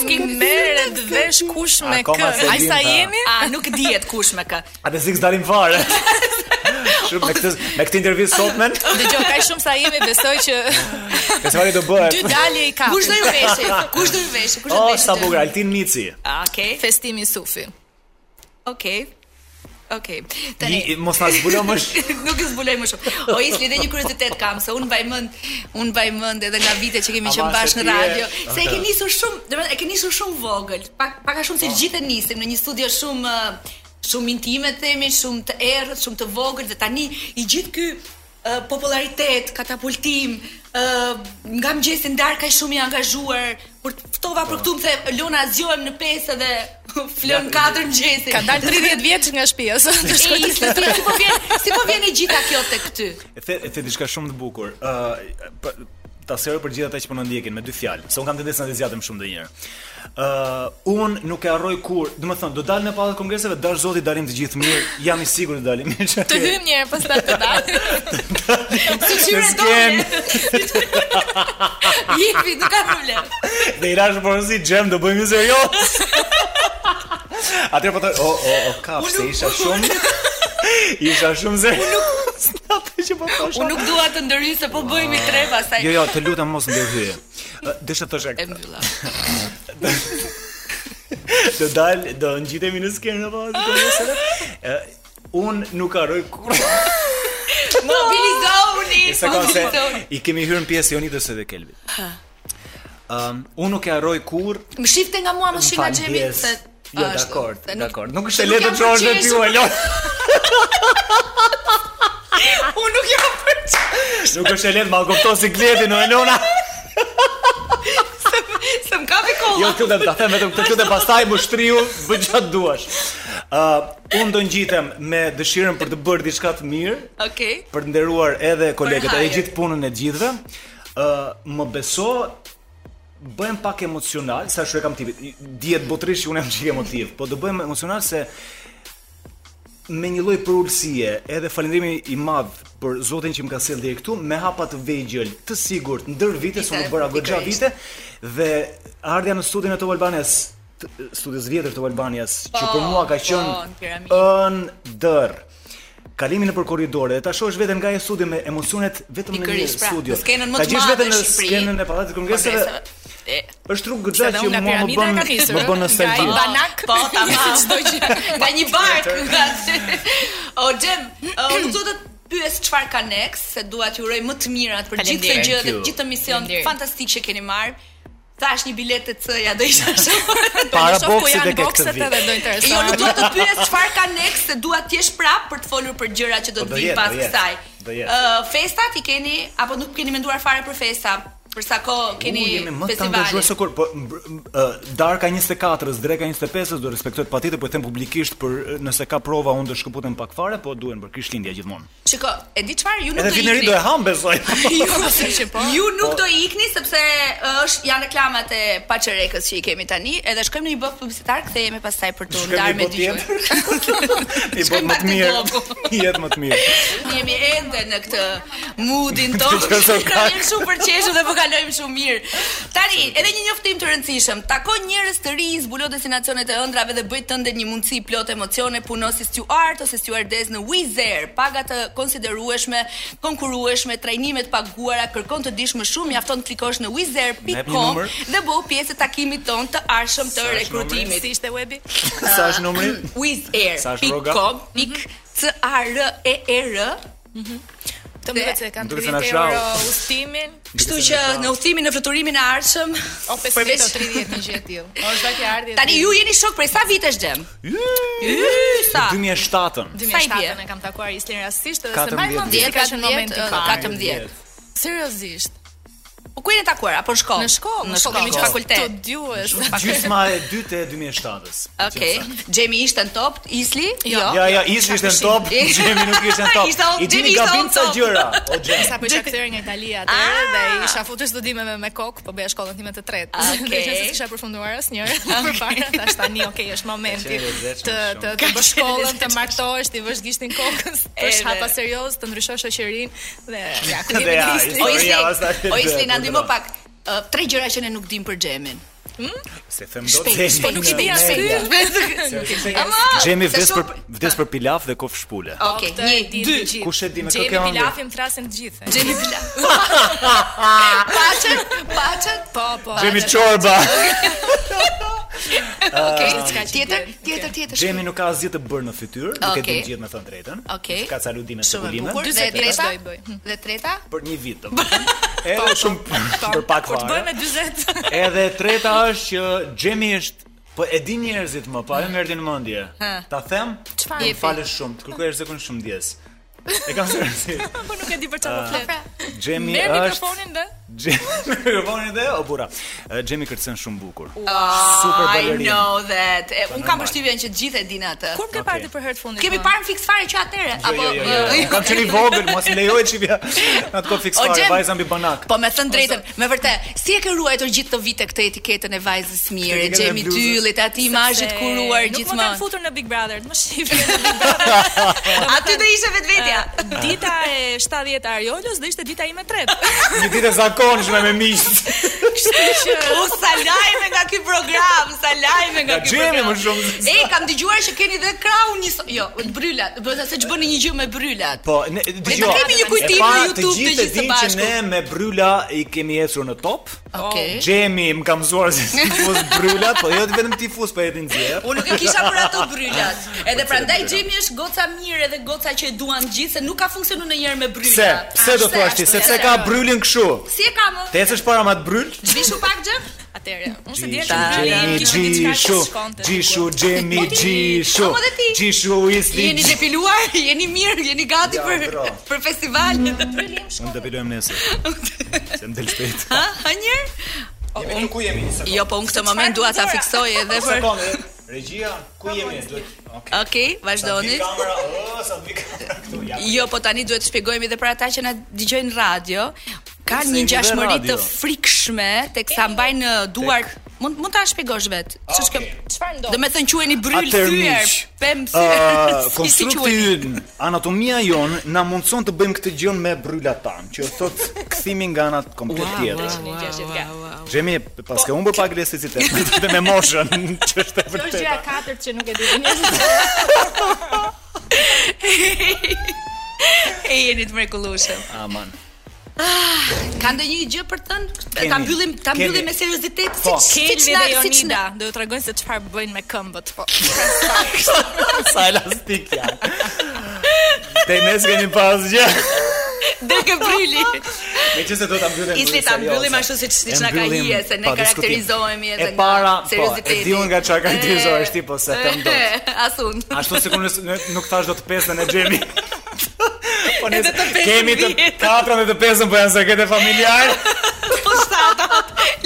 Speaker 3: S'ki merret vesh kush me kë.
Speaker 2: Akoma se
Speaker 3: Ai sa
Speaker 2: dim, ta.
Speaker 3: jemi?
Speaker 1: A nuk dihet kush me kë.
Speaker 2: A të sikë dalim fare. Shumë me këtë me këtë intervistë sot men,
Speaker 3: Dëgjoj, kaq shumë sa jemi, besoj që
Speaker 2: festivali do
Speaker 3: dy
Speaker 2: bëhet.
Speaker 3: dalje i ka.
Speaker 1: Kush do ju veshë? Kush do ju veshë? Kush do
Speaker 2: O,
Speaker 1: ju veshë?
Speaker 2: sa bukur Altin Mici.
Speaker 1: Ah, Okej.
Speaker 3: Festimi i sufi.
Speaker 1: Okej. Okej. Tani
Speaker 2: Ji- Mos ta zbulom është
Speaker 1: nuk e zbuloj më shumë. O Isli, edhe një kuriozitet kam, se unë mbaj mend, unë mbaj mend edhe nga vite që kemi
Speaker 2: Ama
Speaker 1: qenë
Speaker 2: se
Speaker 1: bashkë në
Speaker 2: ti je-
Speaker 1: radio, se e ke nisur shumë, domethënë e ke nisur shumë vogël, pak pak a shumë se gjithë e nisim në një studio uh, shumë ë, shumë intime themi, shumë të errët, shumë të vogël dhe tani i gjithë ky ë, popularitet, katapultim, ë, nga mëngjesi ndar ka shumë i angazhuar. Kur të ftova për këtu më the Lona zgjohem në 5 edhe flon 4 mëngjesi.
Speaker 3: Ka dalë 30 vjeç nga shtëpia, sa të
Speaker 1: E
Speaker 3: shkoj të
Speaker 1: isle ti si po vjen, si po vjen e gjitha kjo tek ty.
Speaker 2: E the, e the diçka shumë të bukur. Ë uh, ta sërë për gjithë ata që po na ndjekin me dy fjalë, se un kam tendencën të zgjatem shumë ndonjëherë. Ë uh, un nuk e harroj kur, do të thënë, do dalim në pallat e kongreseve, dash zoti dalim të gjithë mirë, jam i sigurt të dalim mirë.
Speaker 3: Të hym një herë pastaj të dal.
Speaker 1: Si qyre
Speaker 2: s'kem.
Speaker 1: dole. Jepi, nuk ka problem.
Speaker 2: Dhe i rash porosi xhem do bëjmë një serioz. Atëherë po të o o o kap se
Speaker 1: po
Speaker 2: isha shumë isha shumë serioz. Atë që po thosha.
Speaker 1: Unë nuk dua të ndërhyj se po bëhemi tre pastaj.
Speaker 2: Jo, jo, të lutem mos ndërhyje. Desha të thosha
Speaker 1: E mbylla.
Speaker 2: Do dal, do ngjitemi në skenë apo si të mëseve. Un nuk harroj kur.
Speaker 1: Mobilizoni.
Speaker 2: E Sa kanë se
Speaker 1: mobilizoni.
Speaker 2: i kemi hyrë në pjesë Jonitës edhe Kelvit. Um, unë nuk e harroj kur
Speaker 1: Më shifte nga mua mos shika
Speaker 2: M'fal,
Speaker 1: xhemi
Speaker 2: yes.
Speaker 1: se
Speaker 2: Jo,
Speaker 1: ashtu,
Speaker 2: dakor,
Speaker 1: se nuk-
Speaker 2: dakor. Nuk
Speaker 1: se
Speaker 2: është e lehtë
Speaker 1: jam
Speaker 2: të çohesh në
Speaker 1: përqeshur.
Speaker 2: ty, Elon.
Speaker 1: Unë nuk jam për
Speaker 2: Nuk është e lehtë, ma kupton si gletin o Elona.
Speaker 1: se më kapi kolla.
Speaker 2: Jo, të lutem, ta them vetëm këtë lutem pastaj më shtriu, bëj çfarë duash. Ë, unë do ngjitem me dëshirën për të bërë diçka të mirë,
Speaker 1: Okej.
Speaker 2: për të nderuar edhe kolegët, edhe
Speaker 1: hajër.
Speaker 2: gjithë punën e gjithëve. ë më beso bëhem pak emocional, sa shkruaj kam tipit. i- Dihet botërisht që unë jam çik emotiv, po do bëhem emocional se me një lloj përulësie, edhe falëndrimi i madh për Zotin që më ka sjellë deri këtu, me hapa të vegjël, të sigurt, ndër vite, se unë
Speaker 1: Vite,
Speaker 2: bëra goxha
Speaker 1: pikërisht.
Speaker 2: vite dhe ardha në studion e Top Albanias, t- studios vjetër të Albanias, që për mua ka
Speaker 1: po, në
Speaker 2: qenë
Speaker 1: piramidë.
Speaker 2: ndër. Kalimi nëpër korridore dhe ta shohësh veten nga e studi me emocionet vetëm në një
Speaker 1: Pikërisht, pra,
Speaker 2: studio.
Speaker 1: në skenën më
Speaker 2: Ta
Speaker 1: të
Speaker 2: gjesh
Speaker 1: madhe
Speaker 2: vetën në
Speaker 1: në Shqipëri.
Speaker 2: skenën e Pallatit të Kongreseve.
Speaker 1: Kongreseve. E,
Speaker 2: Është rrugë
Speaker 3: Se
Speaker 2: goxha
Speaker 3: dhe
Speaker 2: që
Speaker 3: unë nga
Speaker 2: mua më
Speaker 3: piramida
Speaker 2: bën
Speaker 3: e kam nisur.
Speaker 2: më bën nostalgji.
Speaker 3: Nga i banak.
Speaker 1: Po, tamam.
Speaker 3: çdo gjë.
Speaker 1: Nga një bark. nga që- O Xhem, o, unë nuk do të pyes çfarë ka next, se dua t'ju uroj më të mirat për gjithë këtë
Speaker 3: Faleminderit.
Speaker 1: gjë dhe
Speaker 2: Thank you.
Speaker 1: gjithë të mision
Speaker 3: Faleminderit.
Speaker 1: fantastik që keni marrë. Thash një biletë të ja do isha shumë.
Speaker 2: Para
Speaker 3: Shoh ku
Speaker 2: boksit
Speaker 3: janë
Speaker 2: e ke këtë
Speaker 3: bokset
Speaker 2: vit.
Speaker 3: edhe do
Speaker 1: Jo,
Speaker 3: interesojnë.
Speaker 1: nuk dua të pyes çfarë ka next, se dua të jesh prap për të folur për gjëra që do
Speaker 2: Po,
Speaker 1: të
Speaker 2: do
Speaker 1: vinë
Speaker 2: jetë,
Speaker 1: pas
Speaker 2: do jetë,
Speaker 1: kësaj.
Speaker 2: do jetë.
Speaker 1: Ë, festat i keni apo nuk keni menduar fare për festa? Për sa kohë keni
Speaker 2: U, jemi më të
Speaker 1: festivalin?
Speaker 2: angazhuar se kur, po mbr- m- ë, Darka 24-s, Dreka 25-s do respektohet patjetër, po e them publikisht për ë, nëse ka prova unë do shkëputem pak fare, po duhen për Krishtlindja gjithmonë.
Speaker 1: Shiko, e di çfarë ju nuk
Speaker 2: Edhe
Speaker 1: do
Speaker 2: vitin e ri do e
Speaker 1: ikni.
Speaker 2: ham besoj.
Speaker 3: Jo, se që po.
Speaker 1: Ju nuk do ikni sepse ë, është janë reklamat e paçerekës që i kemi tani, edhe shkojmë në një bëf publicitar, kthehemi pastaj për të
Speaker 2: Shkojmë
Speaker 1: ndarë
Speaker 2: një
Speaker 1: me
Speaker 2: botë
Speaker 1: dy gjë.
Speaker 2: I bën më
Speaker 1: pak
Speaker 2: të
Speaker 1: te
Speaker 2: mirë.
Speaker 1: globu.
Speaker 2: Jetë më të mirë.
Speaker 1: Ne jemi ende në këtë moodin tonë.
Speaker 2: Këtë qëso
Speaker 1: Na
Speaker 2: kak.
Speaker 1: jemi shumë përqeshur dhe po kalojmë shumë mirë. Tani, edhe një njoftim të rëndësishëm. Tako njerëz të rinj, zbulo destinacionet e ëndrave dhe bëj tënde një mundësi plot emocione, puno si steward ose stewardess në Wizz Air. Paga të konsiderueshme, konkurueshme, trajnime të paguara, kërkon të dish më shumë, mjafton të klikosh në
Speaker 2: Jep një
Speaker 1: wizzair.com
Speaker 2: numër.
Speaker 1: dhe bëu pjesë e takimit tonë të arshëm të
Speaker 2: Sa është
Speaker 1: rekrutimit.
Speaker 3: Si ishte webi?
Speaker 2: Sa është numri? Sa është rroga?
Speaker 1: wizzair.com pik c a r e e r
Speaker 3: Të më se kanë
Speaker 2: Ndërsa
Speaker 3: 30
Speaker 2: na shau.
Speaker 3: euro ustimin,
Speaker 1: Kështu që në udhimin në fluturimin e ardhshëm,
Speaker 3: o 50
Speaker 1: përveç-
Speaker 3: o 30 një gjë e tillë. O çdo që ardhi.
Speaker 1: tani ju jeni shok prej sa vitesh dem? Sa?
Speaker 2: 2007-ën.
Speaker 1: sa i
Speaker 3: 2007 e kam takuar Islin rastisht edhe se
Speaker 2: 14
Speaker 3: mbaj mend se ka
Speaker 1: 10,
Speaker 3: qenë momenti i
Speaker 1: 14,
Speaker 3: parë.
Speaker 1: 14.
Speaker 3: Seriozisht.
Speaker 1: Po ku jeni takuar? Apo në shkollë?
Speaker 3: Në shkollë,
Speaker 1: në shkollë, po. kemi
Speaker 3: në
Speaker 1: që fakultet.
Speaker 3: Të djues.
Speaker 2: Gjysma e dytë e 2007-s.
Speaker 1: Okej. Xhemi ishte në top, Isli? Jo.
Speaker 2: Ja, ja, Isli ishte në top,
Speaker 1: Isli.
Speaker 2: Gjemi nuk ishte në
Speaker 1: Ishte on-
Speaker 2: top. I dini
Speaker 1: Gjemi ishte on
Speaker 2: gabim sa
Speaker 1: top.
Speaker 2: gjëra. O Gjemi.
Speaker 3: Sa po isha kthyer nga Italia atë
Speaker 1: Ah! Ah,
Speaker 3: dhe isha futur studimeve me kok, po bëja shkollën time të tretë.
Speaker 1: Okej.
Speaker 3: Dhe që s'isha përfunduar asnjëherë përpara, thash tani, okay, është momenti
Speaker 2: Qenë e lezetshme
Speaker 3: të
Speaker 2: shumë.
Speaker 3: të, të bësh shkollën, të martohesh, të vësh gishtin kokës, të
Speaker 1: Edhe.
Speaker 3: shhapa hapa serioz, të ndryshosh shoqërinë dhe ja, ku
Speaker 2: Dhe
Speaker 3: jemi
Speaker 2: ja,
Speaker 3: në Isli.
Speaker 1: O
Speaker 2: Sorry,
Speaker 1: Isli,
Speaker 2: ja, pastaj.
Speaker 1: o Isli na
Speaker 2: Dhe,
Speaker 1: ndihmo
Speaker 2: dhe,
Speaker 1: pak. Ë, tre gjëra që ne nuk dim për Xhemin.
Speaker 2: Se them do
Speaker 1: Shpejt, shpejt,
Speaker 2: të themi
Speaker 3: nuk i
Speaker 2: në
Speaker 3: di as
Speaker 2: media.
Speaker 3: ky.
Speaker 1: Ama
Speaker 2: Gjemi
Speaker 1: se
Speaker 2: vdes
Speaker 1: shumë-
Speaker 2: për vdes për pilaf dhe kof shpule.
Speaker 1: Okej,
Speaker 3: Këtë e
Speaker 1: një,
Speaker 3: di
Speaker 1: dy.
Speaker 3: të gjithë.
Speaker 2: Kush e di me
Speaker 3: Gjemi
Speaker 2: kë ke hëngër?
Speaker 3: pilafin thrasin të gjithë.
Speaker 1: Xhemi Pla. Paçet, paçet.
Speaker 3: Po, po.
Speaker 1: Oh,
Speaker 2: Gjemi
Speaker 3: atë-
Speaker 2: çorba. Ah.
Speaker 1: Okej,
Speaker 3: diçka që
Speaker 1: tjetër,
Speaker 3: bën.
Speaker 1: tjetër, tjetër.
Speaker 2: Gjemi nuk ka asgjë të bërë në fytyrë, nuk e
Speaker 1: Okej.
Speaker 2: di gjithë me thënë drejtën.
Speaker 1: Okej.
Speaker 2: Ka ca ludime
Speaker 1: Shumë e
Speaker 2: spekulime
Speaker 1: bukur.
Speaker 3: Dy
Speaker 1: Dhe
Speaker 3: sekunda
Speaker 1: treta?
Speaker 3: do i bëj.
Speaker 1: Dhe treta?
Speaker 2: për një vit. domethënë.
Speaker 1: Po,
Speaker 2: Edhe shumë për pak
Speaker 3: Kur Po, të
Speaker 2: fare.
Speaker 3: bëjmë 40.
Speaker 2: Edhe e treta është që Xhemi është Po e di po njerëzit më, pa e më erdhi në mendje. Ta them,
Speaker 3: Çfarë?
Speaker 2: më falësh shumë, të kërkoj rrezikun shumë ndjes. E kam vërtet.
Speaker 3: Po nuk e di për çfarë po flet.
Speaker 1: Pra.
Speaker 2: Xhemi
Speaker 3: Merr
Speaker 2: Ah. është
Speaker 3: mikrofonin dhe
Speaker 2: Xhemi mikrofonin dhe o bura. Ë, Xhemi kërcen shumë bukur. Super
Speaker 1: Super I
Speaker 2: balerin.
Speaker 1: know that. E, un kam
Speaker 2: normal.
Speaker 1: përshtypjen që të gjithë e dinë atë.
Speaker 3: kur ke
Speaker 2: Okej.
Speaker 3: parë ti për herë të fundit?
Speaker 1: Kemi
Speaker 3: po?
Speaker 1: parë në fiks fare që atëre
Speaker 2: Jo,
Speaker 1: apo
Speaker 2: jo, jo, jo, jo. Kam qenë i vogël, mos i lejohet çipja. Atë kohë
Speaker 1: O,
Speaker 2: fiksuar
Speaker 1: Gjem,
Speaker 2: vajza mbi banak.
Speaker 1: Po me thënë drejtën, me vërtet, si e ke ruajtur gjithë këto vite këtë etiketën e vajzës mirë,
Speaker 2: Etiketën e
Speaker 1: Gjemi
Speaker 2: bluzës.
Speaker 1: Tyllit, atë imazhit
Speaker 3: Se
Speaker 1: kuruar
Speaker 3: Nuk më kanë
Speaker 1: gjithmonë.
Speaker 3: futur në Big Brother, më shifje.
Speaker 1: Aty do ishe vetvetja.
Speaker 3: Dita e 70 e Ariolos dhe ishte dita ime e tretë.
Speaker 2: Një ditë e zakonshme me miq.
Speaker 3: Kështu që
Speaker 1: U sa lajme nga ky program, sa lajme nga
Speaker 2: Nga
Speaker 1: ky
Speaker 2: Gjemi
Speaker 1: program.
Speaker 2: më shumë.
Speaker 1: E kam dëgjuar që keni dhe krau një so- jo, brylat, bëhet se ç'bëni një gjë me brylat.
Speaker 2: Po, ne dëgjoj.
Speaker 1: kemi një kujtim
Speaker 2: e pa,
Speaker 1: në YouTube të gjithë
Speaker 2: Të
Speaker 1: së
Speaker 2: gjithë e dinë që
Speaker 1: bashku.
Speaker 2: ne me bryla i kemi ecur në top.
Speaker 1: Okej.
Speaker 2: Gjemi më ka mësuar se si fus bryla, po jo vetëm ti fus pa jetin nxjerr.
Speaker 1: Unë nuk e kisha për ato brylat.
Speaker 2: Po,
Speaker 1: Edhe prandaj Xhemi është goca mirë edhe goca që e duan gjithë, se nuk ka funksionuar ndonjëherë me bryla.
Speaker 2: Pse? Pse
Speaker 1: A,
Speaker 2: do thua ti?
Speaker 1: ashtu,
Speaker 2: Sepse
Speaker 1: ja,
Speaker 2: ka
Speaker 1: se-
Speaker 2: brylin kështu.
Speaker 1: Si e ka më?
Speaker 2: Te ecësh para ma të bryl?
Speaker 1: Zhvishu pak xhem?
Speaker 3: atëre, unë se dija
Speaker 2: Gjishu,
Speaker 3: që
Speaker 2: Gjemi,
Speaker 3: kishte diçka që
Speaker 2: gjishu,
Speaker 3: shkonte.
Speaker 2: gjishu, gjemi,
Speaker 1: Po ti,
Speaker 2: gjishu,
Speaker 1: amo dhe ti.
Speaker 2: gjishu, isli,
Speaker 1: Jeni depiluar, jeni mirë, jeni gati
Speaker 2: Ja,
Speaker 1: për
Speaker 2: bro.
Speaker 1: për festivalin.
Speaker 2: Mm. Unë të pilojmë nesër. Se më del shpejt.
Speaker 1: Ha, ha njërë?
Speaker 2: Jemi ku jemi? Një sekondë.
Speaker 1: Jo, po unë këtë moment dua ta fiksoj edhe
Speaker 2: Një
Speaker 1: për
Speaker 2: sekondë. Regjia, ku jemi? Duhet- Okej.
Speaker 1: Okej, vazhdoni.
Speaker 2: Sa kamera, o, sa vi kamera këtu. Ja.
Speaker 1: Jo, po tani duhet të shpjegojmë edhe për ata që na dëgjojnë radio. Ka
Speaker 2: Se
Speaker 1: një
Speaker 2: jemi dhe
Speaker 1: ngjashmëri
Speaker 2: radio.
Speaker 1: të frikshme tek sa mbajnë në duar. Mund mund ta shpjegosh vet. Ç'është kjo?
Speaker 2: Ah, Okej.
Speaker 3: Çfarë ndodh?
Speaker 1: Do me thënë queni bryl
Speaker 2: Atër
Speaker 1: thyer,
Speaker 2: miq,
Speaker 1: pem
Speaker 2: ë,
Speaker 1: thyer. si- si
Speaker 2: Ah, konstrukti
Speaker 1: quheni?
Speaker 2: ynë, anatomia jon na mundson të bëjmë këtë gjën me bryla tan, që thot kthimi nga ana komplet
Speaker 1: Wow, wow,
Speaker 2: tjetër.
Speaker 1: wow, wow, wow.
Speaker 2: Xhemi pas ke humbur pak elasticitet dhe me moshën, që është e
Speaker 3: Kjo është gjëja
Speaker 2: vërtetë.
Speaker 3: e katërt që nuk e di. Njerëzit
Speaker 1: E jeni të mrekullueshëm.
Speaker 2: Aman.
Speaker 1: Ka ndonjë gjë për të thënë? Ta
Speaker 2: Kemi,
Speaker 1: mbyllim, ta
Speaker 2: kemi.
Speaker 1: mbyllim me seriozitet
Speaker 2: Po.
Speaker 1: siç siç
Speaker 3: Kelvi
Speaker 1: na
Speaker 3: dhe
Speaker 1: siç
Speaker 3: Jonida
Speaker 1: na.
Speaker 3: do ju tregojnë se çfarë bëjnë me këmbët. Po.
Speaker 2: Sa elastik janë. Te nes kemi pas gjë.
Speaker 1: Del ke bryli.
Speaker 2: Meqense do ta mbyllim.
Speaker 1: Isli ta mbyllim ashtu siç siç na ka hije se ne karakterizoheemi edhe
Speaker 2: nga para, po, e
Speaker 1: serioziteti.
Speaker 2: di unë nga çfarë karakterizohesh ti, po se them dot.
Speaker 1: Asun.
Speaker 2: Ashtu sikur nëse- nuk thash do të pesën e Xhemi. Po ne
Speaker 1: Edhe të pesën
Speaker 2: kemi të
Speaker 1: vjet.
Speaker 2: katërën dhe të pesën po janë sekete familjare.
Speaker 1: Po shtata.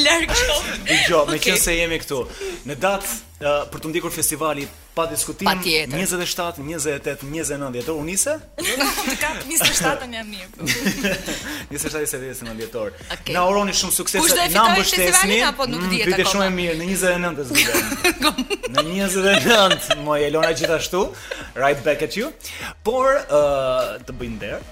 Speaker 1: Larg qoftë.
Speaker 2: Dgjoj,
Speaker 1: Okej.
Speaker 2: meqense jemi këtu. Në datë uh, për të ndjekur festivali pa diskutim
Speaker 1: Patjetër.
Speaker 2: 27, 28, 29 dhjetor u nise.
Speaker 3: Të kap 27-ën jam mirë.
Speaker 2: 27 se 29 dhjetor.
Speaker 1: Okej.
Speaker 2: Na uroni shumë
Speaker 1: Kush do
Speaker 2: suksese,
Speaker 1: e
Speaker 2: na
Speaker 1: fitoj
Speaker 2: mbështesni.
Speaker 1: festivalin, apo nuk
Speaker 2: Mm,
Speaker 1: dihet
Speaker 2: pyetje
Speaker 1: akoma?
Speaker 2: shumë e mirë në 29 zgjidhem. në 29 moj Elona gjithashtu, right back at you. Por ë, të bëjmë der.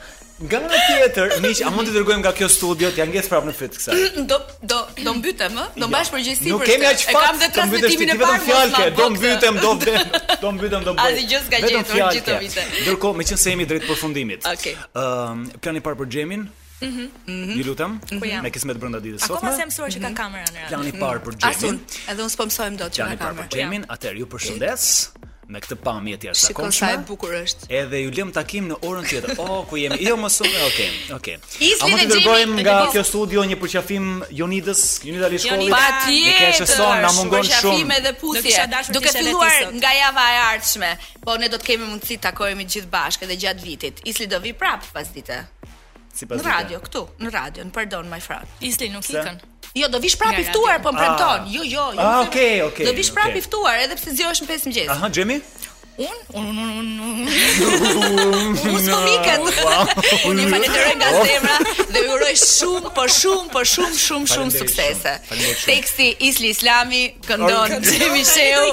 Speaker 2: Nga ana tjetër, miq, a mund të dërgojmë nga kjo studio, t'ja ngjes prapë në fyt kësaj.
Speaker 1: Do do do mbytem, ë? Do mbash përgjegjësi
Speaker 2: Nuk
Speaker 1: për
Speaker 2: kemi
Speaker 1: këtë.
Speaker 2: aq
Speaker 1: E
Speaker 2: fat.
Speaker 1: kam dhe
Speaker 2: të mbytesh ti,
Speaker 1: transmetimin e
Speaker 2: ti
Speaker 1: parë.
Speaker 2: vetëm
Speaker 1: mos
Speaker 2: fjalke,
Speaker 1: ma
Speaker 2: do
Speaker 1: bë këtë.
Speaker 2: mbytem, do vdem, do mbytem, do bëj.
Speaker 1: Asnjë gjë s'ka
Speaker 2: Vetëm
Speaker 1: gjetur gjithë
Speaker 2: fjalke.
Speaker 1: vite.
Speaker 2: Ndërkohë, meqense jemi drejt përfundimit.
Speaker 1: Okej.
Speaker 2: Ëm, plani i parë për Xhemin. Mhm. Ju lutem,
Speaker 3: jam?
Speaker 2: me kismet brenda ditës sotme.
Speaker 3: Akoma se mësuar që ka kamera në radhë.
Speaker 2: Plani i parë për
Speaker 1: Mhm. Asun,
Speaker 2: Xhemin.
Speaker 1: edhe unë s'po mësojmë dot që
Speaker 2: Plani
Speaker 1: na
Speaker 2: i parë për
Speaker 1: kamer.
Speaker 2: Xhemin, atëherë ju përshëndes me këtë pamje të
Speaker 1: Shikon sa e
Speaker 2: jashtëzakonshme.
Speaker 1: bukur është.
Speaker 2: Edhe ju lëm takim në orën tjetër. O, ku jemi? Jo, mos u. Okej, okej.
Speaker 1: Islin
Speaker 2: A mund
Speaker 1: e
Speaker 2: të dërgojmë
Speaker 1: Xhemit,
Speaker 2: nga
Speaker 1: Denizin.
Speaker 2: kjo studio një përqafim Jonidës, Jonida Lishkolli?
Speaker 3: Jonida,
Speaker 2: Një keshë son, na mungon shumë.
Speaker 1: Përqafime dhe
Speaker 3: Do kisha
Speaker 1: pusje.
Speaker 3: dashur
Speaker 1: Duke
Speaker 3: t'isha edhe ti
Speaker 1: filluar
Speaker 3: sot.
Speaker 1: nga java e ardhshme, po ne do të kemi mundësi të takohemi gjithë bashkë edhe gjatë vitit. Isli do vi prap pas dite.
Speaker 2: Sipas
Speaker 1: Në
Speaker 2: dite.
Speaker 1: radio, këtu, në radio, në pardon, my friend.
Speaker 3: Isli nuk ikën.
Speaker 1: Jo, do vish prap
Speaker 3: Nga
Speaker 1: i ftuar, po më premton.
Speaker 2: Ah.
Speaker 1: Jo, jo, jo.
Speaker 2: Ah,
Speaker 1: nuk e-
Speaker 2: okej, okej,
Speaker 1: Do vish prap
Speaker 2: okej.
Speaker 1: i ftuar, edhe pse zgjohesh në 5 mëngjes.
Speaker 2: Aha, Xhemi?
Speaker 3: Un, un, un, un, un.
Speaker 1: Mos po miket. Unë ju falenderoj nga zemra dhe ju uroj shumë, po shumë, po shumë, shumë, shumë
Speaker 2: Faleminderit
Speaker 1: suksese.
Speaker 2: shumë, faleminderit shumë.
Speaker 1: Teksti Isli Islami këndon
Speaker 2: Orkë.
Speaker 1: Xhemi Sheu,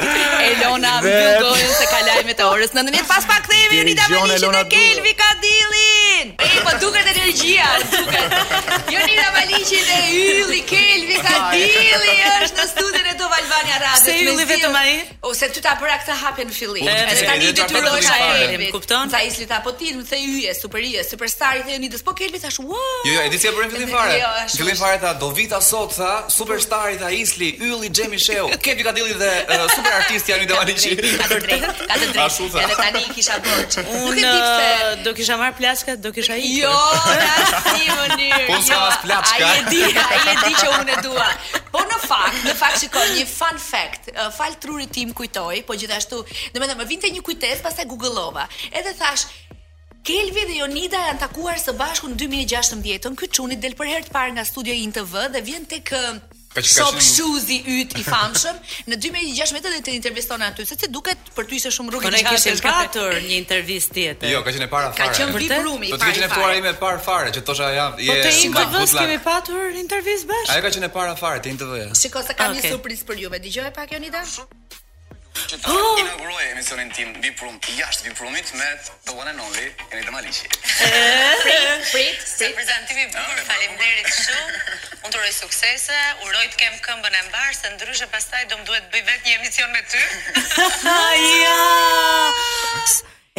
Speaker 1: Elona
Speaker 2: Dhe-
Speaker 1: Mbyllgojën se ka lajme të orës 19 pas pak kthehemi
Speaker 2: Ti
Speaker 1: Unita
Speaker 2: dëgjon,
Speaker 1: Malishin
Speaker 2: Elona
Speaker 1: dhe Kelvi Kadillin. E po duket energjia, duket. Jonida Malishin dhe Ylli Kelvi Kadilli është në studion e Top Albania Radio.
Speaker 4: Pse Ylli vetëm ai?
Speaker 1: Ose ty ta bëra këtë hapje në fillim.
Speaker 4: E,
Speaker 1: Edhe
Speaker 4: pse
Speaker 1: tani
Speaker 4: ke
Speaker 1: detyrohesh
Speaker 4: qarkullim fare.
Speaker 1: Elvit.
Speaker 4: Kupton?
Speaker 1: Sa Isli tha, po ti më the yje, super yje, superstar i the Unitës. Po Kelvi thash, "Wow."
Speaker 5: Jo, jo, e di si e bërin fillim fare.
Speaker 1: Jo, është-
Speaker 5: Fillim fare tha Dovita sot tha, superstari tha Isli, Ylli, Xhemi Sheu, Kevi Kadilli dhe uh, super artisti Anu Damaliçi.
Speaker 1: Ka të drejtë, ka të
Speaker 5: Ashtu
Speaker 1: drejtë.
Speaker 5: tha.
Speaker 1: Edhe tani kisha borxh. Nuk e
Speaker 4: Unë uh,
Speaker 1: di pse.
Speaker 4: do kisha marr plaçka, do kisha ikur.
Speaker 1: Jo, në asnjë mënyrë.
Speaker 5: Po, s'ka
Speaker 1: jo.
Speaker 5: as plaçka.
Speaker 1: Ai e di, ai e di që unë e dua. Po në fakt, në fakt shikoj një fun fact. Ë, Fal trurit tim kujtoi, po gjithashtu, domethënë më vinte një kujtesë, pastaj googlova. Edhe thash Kelvi dhe Jonida janë takuar së bashku në 2016-ën. Ky çuni del për herë të parë nga studio INTV dhe vjen tek ë,
Speaker 5: Ka që ka
Speaker 1: Shop
Speaker 5: qenë-
Speaker 1: Shuzi yt i famshëm në 2016 dhe të interviston aty sepse duket për ty ishte shumë
Speaker 4: Po
Speaker 1: rrugë
Speaker 4: ne
Speaker 1: e
Speaker 4: kishte
Speaker 1: gjatë.
Speaker 4: patur një intervistë tjetër.
Speaker 5: Jo, ka qenë e para
Speaker 1: Ka
Speaker 5: fare.
Speaker 1: qenë VIP
Speaker 4: Vërtet?
Speaker 1: rumi i
Speaker 5: Do të
Speaker 1: parë. i
Speaker 5: kishin e ftuar
Speaker 1: parë.
Speaker 5: ime parë fare, që tosha ja, je
Speaker 4: Po te
Speaker 5: si Mike
Speaker 4: INTV-s
Speaker 5: Good Luck.
Speaker 4: kemi patur intervistë
Speaker 5: Ajo
Speaker 4: bashkë.
Speaker 5: ka qenë e para fare te INTV-ja.
Speaker 1: Shiko se kam një
Speaker 4: Okej.
Speaker 1: surprizë për juve. Dëgjoj pak Jonida.
Speaker 6: që ta inauguroj emisionin tim VIP Room jashtë VIP Roomit me The One and Only Enida Maliqi.
Speaker 1: Prit,
Speaker 7: Se prezantimi i bukur, faleminderit shumë. Unë të uroj suksese, uroj të kem këmbën e mbar, se ndryshe pastaj do më duhet bëj vetë një emision me ty.
Speaker 4: Ja.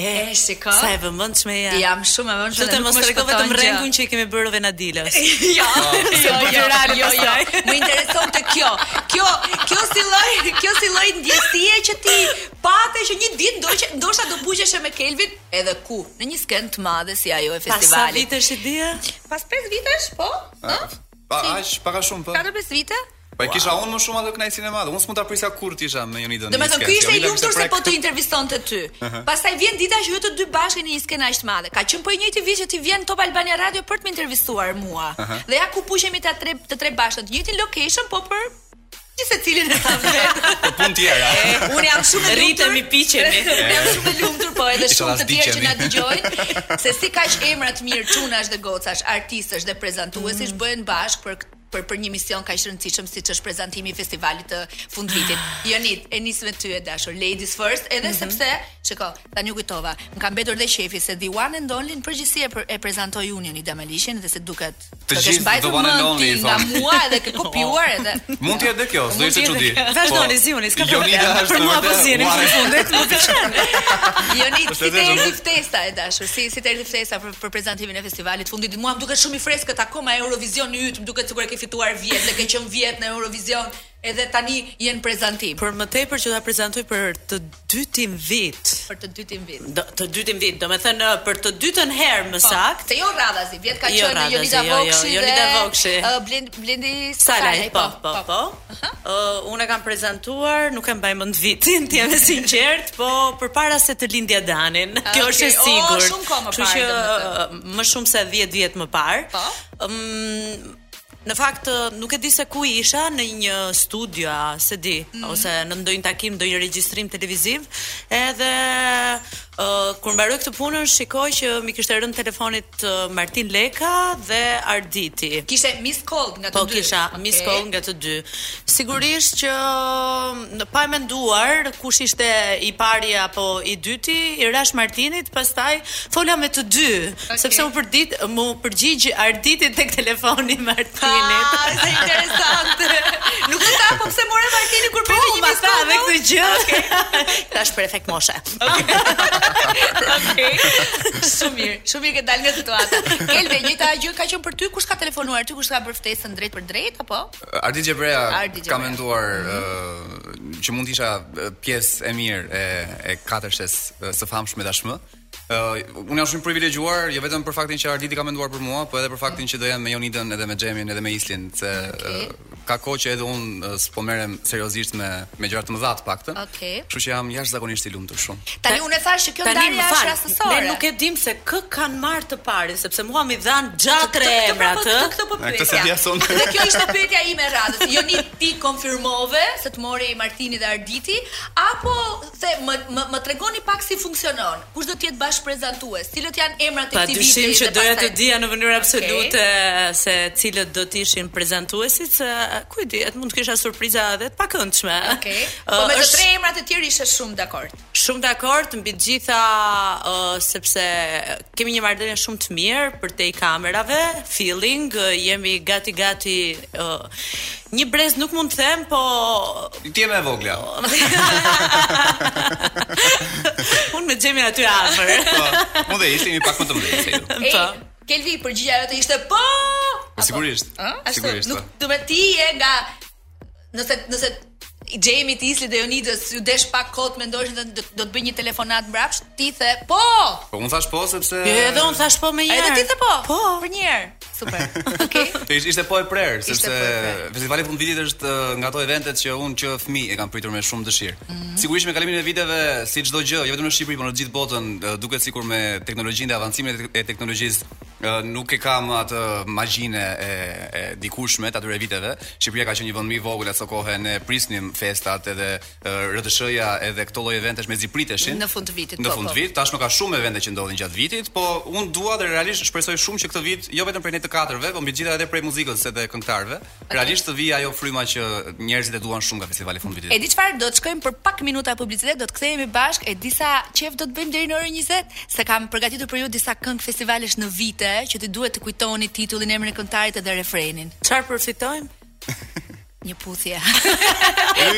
Speaker 1: E shiko.
Speaker 4: Sa e vëmendshme ja.
Speaker 1: Jam shumë e
Speaker 4: Do
Speaker 1: vëmendshme.
Speaker 4: të
Speaker 1: dhe nuk
Speaker 4: mos
Speaker 1: më
Speaker 4: tregoj
Speaker 1: shpëton
Speaker 4: vetëm
Speaker 1: gjë.
Speaker 4: rrengun që i kemi bërë Venadilës.
Speaker 1: Jo, jo, jo,
Speaker 4: bërë
Speaker 1: jo, jo.
Speaker 4: pastaj.
Speaker 1: Më intereson të kjo. Kjo, kjo si lloj, kjo si lloj ndjesie që ti pate që një ditë ndoshta ndoshta do buqeshe me Kelvin edhe ku? Në një skenë të madhe si ajo e
Speaker 4: Pas sa
Speaker 1: festivalit.
Speaker 4: vitesh i dia?
Speaker 1: Pas 5 vitesh, po?
Speaker 5: Ah.
Speaker 1: Ë?
Speaker 5: Pa
Speaker 1: Si?
Speaker 5: aq, pak a shumë po.
Speaker 1: 4-5 vite?
Speaker 5: Po e kisha unë më shumë atë kënaqësinë e madhe. Unë s'mund ta prisja kur të isha me Jonidën.
Speaker 1: Do me thënë, ky ishte i
Speaker 5: Jonida
Speaker 1: lumtur
Speaker 5: kishte
Speaker 1: se po
Speaker 5: jo, prek-
Speaker 1: të interesonte ty. Pastaj vjen dita që ju të dy bashkë në një skenë aq të madhe. Ka qenë po i njëjti vit që ti vjen Top Albania Radio për të më intervistuar mua. Dhe ja ku pushemi ta tre të tre bashkë në të njëjtin location, po për gjithë secilin e sa vetë.
Speaker 5: Për punë tjera.
Speaker 1: Unë jam shumë e lumtur.
Speaker 4: Rritemi, piqemi.
Speaker 1: Unë jam shumë e lumtur, po edhe
Speaker 5: Isha
Speaker 1: shumë të tjerë që
Speaker 5: lasdiqemi.
Speaker 1: na dëgjojnë se si kaq emra të mirë, çunash dhe gocash, artistësh dhe prezantuesish
Speaker 5: Mm.
Speaker 1: bëhen bashkë për kët- për për një mision kaq të rëndësishëm siç është prezantimi i festivalit të fundvitit. Jonit, e nis me ty e dashur Ladies First, edhe
Speaker 5: Mhm.
Speaker 1: sepse, shiko, tani u kujtova, më ka mbetur dhe shefi se The One and Only në përgjithësi e, për, e prezantoi unë Jonit Damalishin dhe se duket të
Speaker 5: Të gjithë
Speaker 1: kesh mbajtur
Speaker 5: The One and
Speaker 1: mend
Speaker 5: Only,
Speaker 1: ti
Speaker 5: i
Speaker 1: nga
Speaker 5: thonë.
Speaker 1: mua edhe ke kopjuar edhe
Speaker 5: Mund të jetë dhe kjo, s'do ishte
Speaker 4: Mund t'jetë
Speaker 5: çudi.
Speaker 4: kjo. Vazhdoni,
Speaker 5: po,
Speaker 4: Zioni, s'ka problem. Për mua po zjeni në
Speaker 5: fundet.
Speaker 1: Jonit,
Speaker 5: Është
Speaker 1: si të
Speaker 5: vërtet,
Speaker 1: erdhi ftesa e dashur, si si të erdhi ftesa për, për prezantimin e festivalit fundit. Mua më duket shumë i freskët akoma Eurovisioni yt, më duket sikur e ke fituar vjet, dhe ke qenë vjet në Eurovision, edhe tani jenë prezantim
Speaker 4: Për më tepër që ta prezantoj për të dytin vit.
Speaker 1: për të dytin vit.
Speaker 4: Do, të dytin vit, do me thënë për të dytën herë më sakt,
Speaker 1: Se jo Radhazi, vjet ka
Speaker 4: Jo
Speaker 1: qenë
Speaker 4: Radhazi,
Speaker 1: Jonida
Speaker 4: jo, jo,
Speaker 1: Vokshi dhe
Speaker 4: Jonida Vokshi.
Speaker 1: ë, Blend- Blendi
Speaker 4: Salaj,
Speaker 1: Salaj,
Speaker 4: po, po, po. Uh, unë e kam prezentuar, nuk e mbaj mend vitin, t'jem e sinqert, po përpara se të lindja Danin.
Speaker 1: Ah, Okay.
Speaker 4: Kjo është e
Speaker 1: O,
Speaker 4: sigurt.
Speaker 1: shumë kohë më
Speaker 4: Kështu
Speaker 1: parë,
Speaker 4: që
Speaker 1: domethënë.
Speaker 4: uh, më shumë se 10 vjet më parë.
Speaker 1: Po.
Speaker 4: Ëm, në fakt uh, nuk e di se ku isha në një studio, a, se di,
Speaker 1: Mhm.
Speaker 4: ose në ndonjë takim, ndonjë regjistrim televiziv, edhe uh, kur mbaroj këtë punën shikoj që mi kishte rënë telefonit uh, Martin Leka dhe Arditi.
Speaker 1: Kishte Miss Cold nga të
Speaker 4: Po
Speaker 1: dy.
Speaker 4: kisha
Speaker 1: Okej.
Speaker 4: miss call nga të dy. Sigurisht që mm, në pa e menduar kush ishte i pari apo i dyti, i rash Martinit, pastaj fola me të dy, sepse u përdit, më përgjigj Arditit tek telefoni Martinit.
Speaker 1: Ah, sa interesante. Nuk e tha, po pse more Martini kur priti
Speaker 4: Po,
Speaker 1: një
Speaker 4: ma
Speaker 1: Miss
Speaker 4: tha
Speaker 1: Cold?
Speaker 4: dhe
Speaker 1: no?
Speaker 4: këtë gjë. Tash për efekt moshe.
Speaker 1: Okej. Shumë mirë, shumë mirë që dal nga situata. Elve, njëta gjë ka qenë për ty, kush ka telefonuar ty, kush ka bërë ftesën drejt për drejt apo?
Speaker 5: Ardi Xhebrea
Speaker 1: Ardi Mhm.
Speaker 5: ka
Speaker 1: Xhebrea.
Speaker 5: menduar ë, që mund të isha ë, pjesë e mirë e e katërshes ë, së famshme tashmë. Uh, unë jam shumë i privilegjuar, jo vetëm për faktin që Arditi ka menduar për mua, po edhe për faktin që do jam me Jonidën edhe me Xhemin edhe me Islin, se
Speaker 1: Mhm. Okej.
Speaker 5: ë, ka kohë që edhe unë ë, s'po merrem seriozisht me me gjëra të mëdha të paktën.
Speaker 1: Okej.
Speaker 5: Kështu që jam jashtëzakonisht i lumtur shumë.
Speaker 1: Tani unë e thash që kjo
Speaker 4: Tani më
Speaker 1: ndarje është
Speaker 4: fal,
Speaker 1: rastësore.
Speaker 4: ne nuk e dim se kë kanë marrë të parë, sepse mua mi dhan
Speaker 1: Këtë-
Speaker 4: gjatë
Speaker 1: këtë- këtë
Speaker 4: emra
Speaker 1: po-
Speaker 4: të.
Speaker 1: këtë- Këtë po
Speaker 5: A, këtë
Speaker 1: pyetja.
Speaker 5: se di as unë.
Speaker 1: Dhe kjo ishte pyetja ime e radhës. Joni ti konfirmove se të mori Martini dhe Arditi apo the më më, më tregoni pak si funksionon. Kush do të jetë bashkë prezantues? Cilët janë emrat e
Speaker 4: Pa
Speaker 1: këtij viti?
Speaker 4: dyshim që
Speaker 1: dhe
Speaker 4: doja të
Speaker 1: pastaj-
Speaker 4: dija në mënyrë absolute se cilët do të ishin prezantuesit, se ku e dihet, mund të kisha surpriza edhe të pakëndshme.
Speaker 1: Okej.
Speaker 4: Ë,
Speaker 1: Po me të
Speaker 4: është
Speaker 1: tre emrat e tjerë ishe shumë dakord.
Speaker 4: Shumë dakord mbi të gjitha uh, sepse kemi një marrëdhënie shumë të mirë për te i kamerave, feeling, uh, jemi gati gati uh, një brez nuk mund të them, po
Speaker 5: Ti je më e vogla.
Speaker 1: Po.
Speaker 4: unë me xhemin aty afër.
Speaker 5: Po, unë dhe Islin i pak më të mëdhenj se ju.
Speaker 1: Ej,
Speaker 4: Po.
Speaker 1: Kelvi, përgjigja jote ishte po.
Speaker 5: Po, Sigurisht.
Speaker 1: Ë, ashtu.
Speaker 5: Sigurisht.
Speaker 1: Nuk
Speaker 5: po.
Speaker 1: do të ti je nga nëse nëse i Jamie të Isli dhe Jonidës ju desh pak kot mendojnë se do, do të bëj një telefonat mbrapsht, ti the po.
Speaker 5: Po unë thash po sepse
Speaker 4: Edhe unë thash po
Speaker 1: A
Speaker 4: me një.
Speaker 1: edhe ti the po.
Speaker 4: Po.
Speaker 1: Për një herë. Super. Okej.
Speaker 5: Po ish- ishte po e prerë, sepse
Speaker 1: po e prerë.
Speaker 5: festivali fund vitit është ë, nga ato eventet që unë që fëmijë e kam pritur me shumë dëshirë.
Speaker 1: Mhm.
Speaker 5: Sigurisht me kalimin e viteve, si çdo gjë, jo vetëm në Shqipëri, por në të gjithë botën, ë, duket sikur me teknologjinë dhe avancimin e tek- e teknologjisë ë, nuk e kam atë magjinë e, e dikurshme të atyre viteve. Shqipëria ka qenë një vend më i vogël atë kohë, ne prisnim festat edhe ë, RTS-ja edhe këto lloj eventesh me zipriteshin.
Speaker 1: Në fund të vitit,
Speaker 5: Në
Speaker 1: po,
Speaker 5: fund
Speaker 1: po.
Speaker 5: të vitit, tashmë ka shumë evente që ndodhin gjatë vitit, po unë dua dhe realisht shpresoj shumë që këtë vit, jo vetëm prej ne të katërve, po mbi gjitha edhe prej muzikës edhe këngëtarëve, realisht të vi ajo fryma që njerëzit e duan shumë nga festivali fund vitit.
Speaker 1: E di çfarë do të shkojmë për pak minuta publicitet, do të kthehemi bashk, e di sa qef do të bëjmë deri në orën 20, se kam përgatitur për ju disa këngë festivalesh në vite që ti duhet të kujtoni titullin, emrin e këngëtarit dhe refrenin.
Speaker 4: Çfarë përfitojmë?
Speaker 1: Një puthje.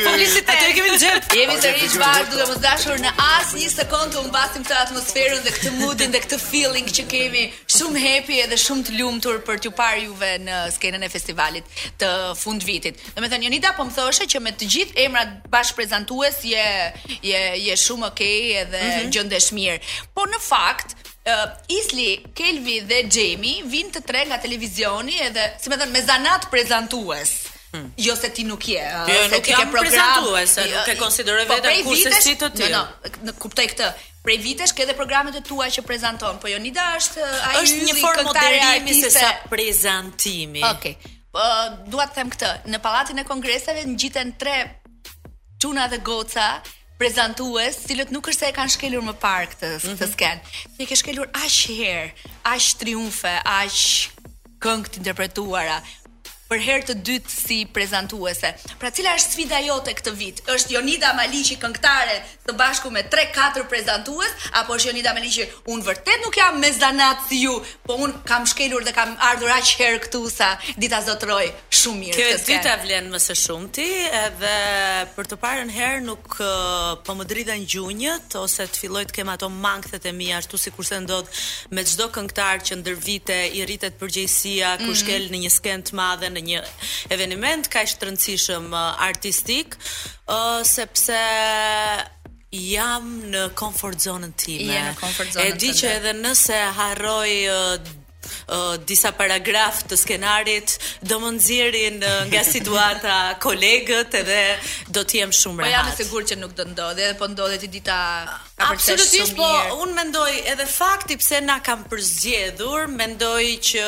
Speaker 1: Publicitet.
Speaker 4: Atë e kemi në xhep.
Speaker 1: Jemi sërish bashkë duke mos dashur në asë një sekund të humbasim këtë atmosferën dhe këtë moodin dhe këtë feeling që kemi shumë happy edhe shumë të lumtur për t'ju parë juve në skenën e festivalit të fund vitit. Do me thënë, Jonida po më thoshe që me të gjithë emrat bashkë prezentues je, je, je shumë okej edhe gjëndesh mirë. Po në fakt, Uh, Isli, Kelvi dhe Gjemi vinë të tre nga televizioni edhe, si me thënë, me zanat prezentues. Jo se ti nuk je, ëh,
Speaker 4: Jo,
Speaker 1: se
Speaker 4: nuk
Speaker 1: ti
Speaker 4: jam
Speaker 1: ke program,
Speaker 4: prezantuese,
Speaker 1: jo,
Speaker 4: nuk e konsideroj
Speaker 1: po,
Speaker 4: veten
Speaker 1: prej
Speaker 4: kurse
Speaker 1: vitesh-
Speaker 4: si të tjerë.
Speaker 1: Jo, jo, në- kuptoj këtë. Prej vitesh ke edhe programet e tua që prezanton, po Jonida është ë, ai
Speaker 4: Është një
Speaker 1: ylli,
Speaker 4: formë
Speaker 1: këngëtare,
Speaker 4: moderimi se
Speaker 1: artiste.
Speaker 4: sa prezantimi.
Speaker 1: Okej. Ë, dua të them këtë, në Pallatin e Kongreseve ngjiten tre çuna dhe goca prezantues, cilët nuk është se e kanë shkelur më parë këtë këtë
Speaker 4: Mhm.
Speaker 1: sken. Ti e ke shkelur aq herë, aq triumfe, aq këngë të interpretuara për herë të dytë si prezantuese. Pra cila është sfida jote këtë vit? Është Jonida Maliqi këngëtare të bashku me 3-4 prezantues apo është Jonida Maliqi unë vërtet nuk jam me zanat si ju, po unë kam shkelur dhe kam ardhur aq herë këtu sa dita zotroj shumë mirë.
Speaker 4: Kjo e
Speaker 1: këtë skenë."
Speaker 4: dyta vlen më së shumti, edhe për të parën herë nuk ë, po më dridhen gjunjët ose të filloj të kem ato mangthet e mia ashtu sikur se ndodh me çdo këngëtar që ndër vite i rritet përgjegjësia,
Speaker 1: Mhm.
Speaker 4: kur shkel në një skenë të madhe, në një eveniment kaq të rëndësishëm ë, artistik, ë, sepse jam në comfort zonën time.
Speaker 1: Je në comfort zonën
Speaker 4: E di
Speaker 1: tënde.
Speaker 4: që edhe nëse harroj ë, ë, disa paragraf të skenarit do më nxjerrin ë, nga situata kolegët edhe do të jem shumë
Speaker 1: Po
Speaker 4: rehat.
Speaker 1: jam e sigurt që nuk do ndodhi, edhe po ndodhet i dita ka përcesh
Speaker 4: Absolutisht,
Speaker 1: shumë
Speaker 4: po
Speaker 1: mirë.
Speaker 4: unë mendoj edhe fakti pse na kam përzgjedhur, mendoj që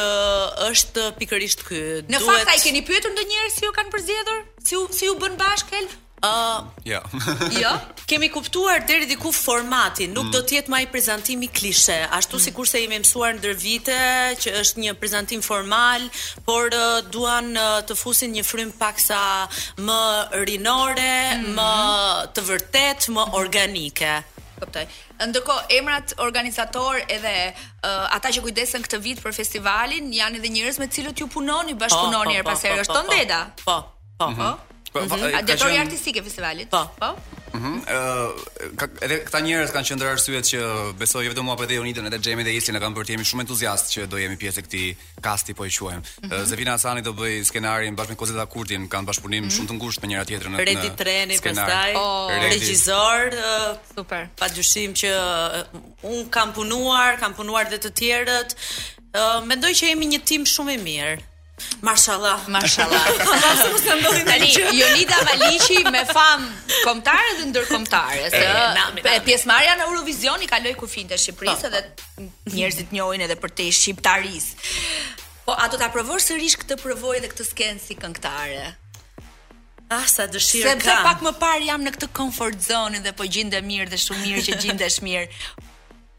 Speaker 4: është pikërisht ky.
Speaker 1: Në fakt ai keni pyetur ndonjëherë si ju kanë përzgjedhur? Si u si u bën bashkë? Elf?
Speaker 4: ë,
Speaker 5: Jo.
Speaker 1: Jo.
Speaker 4: Kemi kuptuar deri diku formatin, nuk
Speaker 1: Mm.
Speaker 4: do të jetë më ai prezantimi klishe, ashtu sikur se jemi mësuar ndër vite që është një prezantim formal, por ë, duan ë, të fusin një frym paksa më rinore,
Speaker 1: Mm-hmm.
Speaker 4: më të vërtet, më organike.
Speaker 1: Kuptoj. Ndërkohë emrat organizator edhe uh, ata që kujdesen këtë vit për festivalin janë edhe njerëz me të cilët ju punoni, bashkëpunoni her pas here. Është Tondeda.
Speaker 4: Po, po.
Speaker 1: Po.
Speaker 5: Po, fa-
Speaker 1: Mhm.
Speaker 5: ka
Speaker 1: Drejtori
Speaker 5: qenë-
Speaker 1: artistik e festivalit.
Speaker 4: Po.
Speaker 1: Po.
Speaker 5: Mhm. Ë, ka- edhe këta njerëz kanë qenë ndër arsyet që besoj jo vetëm mua por edhe Jonitën, edhe Xhemin dhe Islin e kanë bërë të jemi shumë entuziast që do jemi pjesë e këtij kasti po e quajmë. Mm Zevina Hasani do bëj skenarin bashkë me Kozeta Kurtin, kanë bashkëpunim shumë të ngushtë me njëra tjetrën në
Speaker 4: Redi
Speaker 5: në
Speaker 4: treni
Speaker 5: skenar.
Speaker 4: pastaj, uh,
Speaker 1: Oh.
Speaker 5: Redi.
Speaker 4: regjisor, ë,
Speaker 1: Super.
Speaker 4: pa dyshim që uh, un kam punuar, kam punuar dhe të tjerët. Uh, mendoj që jemi një tim shumë i mirë. Mashallah.
Speaker 1: Mashallah.
Speaker 4: Mashallah, mos na ndodhi
Speaker 1: Tani Jonida Maliqi me fam kombëtare dhe ndërkombëtare, se
Speaker 4: nami,
Speaker 1: e,
Speaker 4: nami.
Speaker 1: pjesëmarrja në Eurovision i kaloi kufin të Shqipërisë
Speaker 4: Po,
Speaker 1: dhe njerëzit njohin edhe për te shqiptarisë. Po a do ta provosh sërish këtë provoj dhe këtë skenë si këngëtare?
Speaker 4: Ah, sa dëshirë
Speaker 1: Sepse
Speaker 4: kam.
Speaker 1: pak më parë jam në këtë comfort zone dhe po gjindem mirë dhe shumë mirë që gjindesh mirë.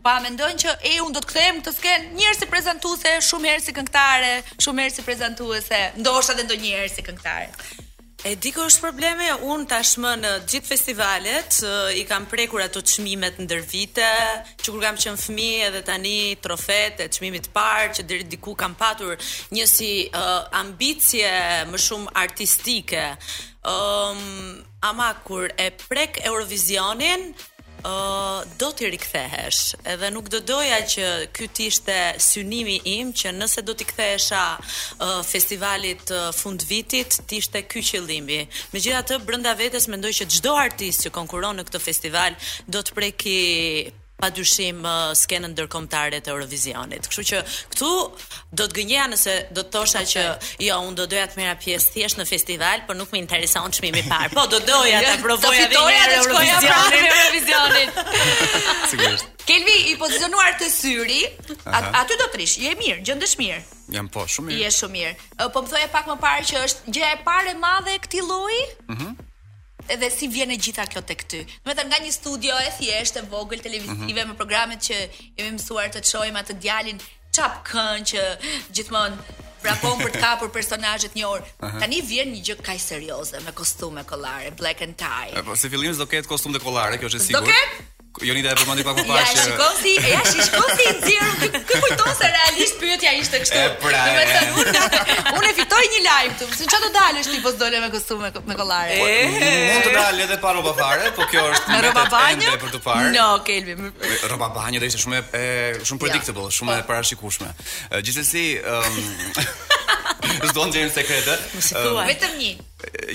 Speaker 1: Pa mendojnë që e unë do të kthehem në këtë skenë njërë si prezantuese, shumë herë si këngëtare, shumë herë si prezantuese, ndoshta edhe ndonjëherë si këngëtare.
Speaker 4: E di ku është problemi, unë tashmë në gjithë festivalet ë, i kam prekur ato çmimet ndër vite, që kur kam qenë fëmijë edhe tani trofet e çmimit të parë që deri diku kam patur një si ë, ambicie më shumë artistike. Ëm ama kur e prek Eurovisionin, ë uh, do t'i rikthehesh. Edhe nuk do doja që ky të ishte synimi im që nëse do t'i kthehesha uh, festivalit uh, fund vitit, të ishte ky qëllimi. Megjithatë brenda vetes mendoj që çdo artist që konkuron në këtë festival do të preki pa dyshim uh, skenën ndërkombëtare të Eurovisionit. Kështu që këtu do të gënjeja nëse do të thosha që jo, unë do doja të merra pjesë thjesht në festival, por nuk më intereson çmimi i parë. Po do doja ta provoja
Speaker 1: Të fitoja
Speaker 4: herë
Speaker 1: dhe të shkoja prapë në
Speaker 4: Eurovisionin.
Speaker 1: Eurovisionin.
Speaker 5: Sigurisht.
Speaker 1: Kelvi i pozicionuar te syri, at, aty do prish. Je mirë, gjendesh mirë.
Speaker 5: Jam po, shumë
Speaker 1: Je
Speaker 5: mirë.
Speaker 1: shumë mirë. Ë, Po më thoje pak më parë që është gjëja e parë e madhe e këtij lloji? Mhm. Edhe si vjen e gjitha kjo tek ty? Do të thënë nga një studio e thjeshtë e vogël televizive me programet që jemi mësuar të çohim atë djalin çap kënë që gjithmonë vrapon për të kapur personazhet një orë. Tani vjen një gjë kaq serioze me kostume kollare, black and tie.
Speaker 5: E, Po, si fillim do ketë kostum dhe kollare, kjo është e
Speaker 1: Do
Speaker 5: sigurt.
Speaker 1: ketë?
Speaker 5: Jonida e përmendi pak më
Speaker 1: Ja,
Speaker 5: parë që
Speaker 1: shikon si, ja shikon si i nxjerr. Kë- Kë kujton se realisht pyetja ishte kështu.
Speaker 5: E, pra,
Speaker 1: Do të
Speaker 5: e.
Speaker 1: thënë unë unë e fitoj një lajm këtu. Se çfarë do dalësh ti po s'dole me kostume me kollare?
Speaker 5: Po, mund të dalë edhe pa rroba fare, po kjo është
Speaker 1: Me
Speaker 5: mbetet
Speaker 1: rroba banjë?
Speaker 5: ende për të parë.
Speaker 1: No, Kelvi. më-
Speaker 5: Rroba banjë do ishte shumë e e, shumë predictable, shumë e
Speaker 1: Po.
Speaker 5: parashikueshme. E, Gjithsesi, ëm s'do të nxjerrim sekrete.
Speaker 4: thua.
Speaker 5: Ëm,
Speaker 1: Vetëm një.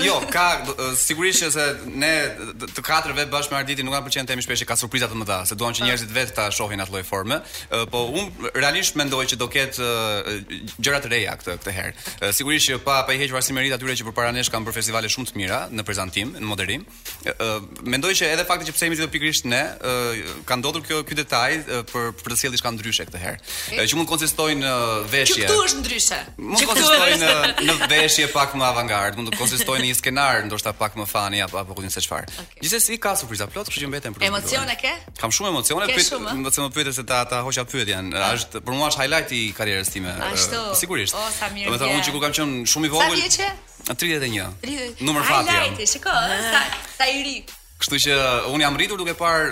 Speaker 5: Jo, ka do- e, sigurisht që se ne d- të katërve bashkë me Arditin nuk na pëlqen të jemi shpesh që ka surpriza të mëdha, se
Speaker 1: Ah.
Speaker 5: duam që njerëzit vetë ta shohin atë lloj forme. E, Po unë realisht mendoj që do ketë e, gjëra të reja këtë këtë herë. E, Sigurisht që pa pa i hequr arsimërit atyre që përpara nesh kanë bërë festivale shumë të mira në prezantim, në moderim. E, e, Mendoj që edhe fakti që pse jemi të pikërisht ne, e, ka ndodhur kjo ky detaj e, për për të sjellë diçka ndryshe këtë herë. E, Që mund të konsistojnë e,
Speaker 1: Që
Speaker 5: veshje.
Speaker 1: këtu është ndryshe.
Speaker 5: Mund
Speaker 1: Që
Speaker 5: të
Speaker 1: këtu
Speaker 5: konsistojnë
Speaker 1: është-
Speaker 5: në, në veshje pak më avangard, mund të konsistojnë në një skenar ndoshta pak më fani apo apo kujtin se çfarë. Gjithsesi ka surpriza plot, kështu që mbeten për. të
Speaker 1: Emocione
Speaker 5: zbuluar.
Speaker 1: ke?
Speaker 5: Kam shumë emocione,
Speaker 1: Ke
Speaker 5: pyet,
Speaker 1: shumë, ë?
Speaker 5: më të më pyetën se ta ta hoqa pyetjen. Është për mua është highlight i karrierës time. ë,
Speaker 1: Ashtu.
Speaker 5: Sigurisht.
Speaker 1: O, sa mirë
Speaker 5: Domethënë unë
Speaker 1: vjen.
Speaker 5: që kur kam qenë shumë i vogël.
Speaker 1: vjeç je?
Speaker 5: 31.
Speaker 1: Ri-
Speaker 5: Numër fati jam.
Speaker 1: Highlighti, shiko, ë, sa sa i ri.
Speaker 5: Kështu që un jam rritur duke parë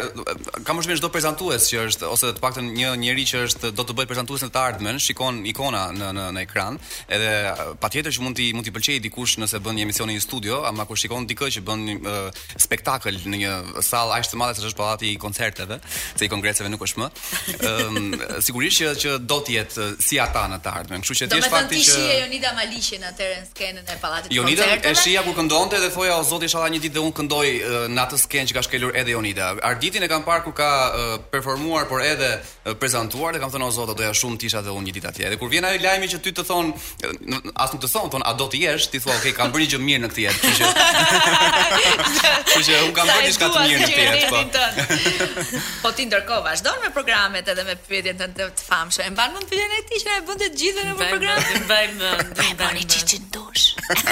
Speaker 5: kam përshtypjen çdo prezantues që është ose të paktën një njerëz që është do të bëhet prezantues në të ardhmen, shikon ikona në në në ekran, edhe uh, patjetër që mund ti mund t'i pëlqejë dikush nëse bën një emision në një studio, ama kur shikon dikë që bën një uh, spektakël në një sallë aq të madhe se është pallati i koncerteve, se i kongreseve nuk është më. Ëm sigurisht që që do të jetë uh, si ata në të ardhmen. Kështu që
Speaker 1: Do me
Speaker 5: thjesht
Speaker 1: thënë ti
Speaker 5: fakti që
Speaker 1: shije Jonida Malishin atëherë në skenën e pallatit të
Speaker 5: Jonida e
Speaker 1: koncerteve.
Speaker 5: shija kur këndonte dhe thoja o zoti inshallah një ditë dhe unë këndoj eh, në atë skenë që ka shkelur edhe Jonida. Arditin e kam parë kur ka eh, performuar por edhe eh, prezantuar dhe kam thënë o zot doja shumë të isha dhe unë një ditë atje. Dhe kur vjen ai lajmi që ty të thon eh, n- as nuk të thon, thon a do të jesh, ti thua ok kam bërë një gjë mirë në këtë jetë. Kështu që kështu që unë kam
Speaker 1: Sa e
Speaker 5: bërë diçka
Speaker 1: dua
Speaker 5: të mirë në
Speaker 1: si
Speaker 5: këtë jetë.
Speaker 1: qytetin
Speaker 5: Po.
Speaker 1: tënd. Po ti ndërkohë vazhdon me programet edhe me pyetjen tënde të famshme. E mban mend pyetjen e ti që na e bën të gjithëve në
Speaker 4: Bëjmë-
Speaker 1: program.
Speaker 4: Bëjmë, bëjmë, bëjmë.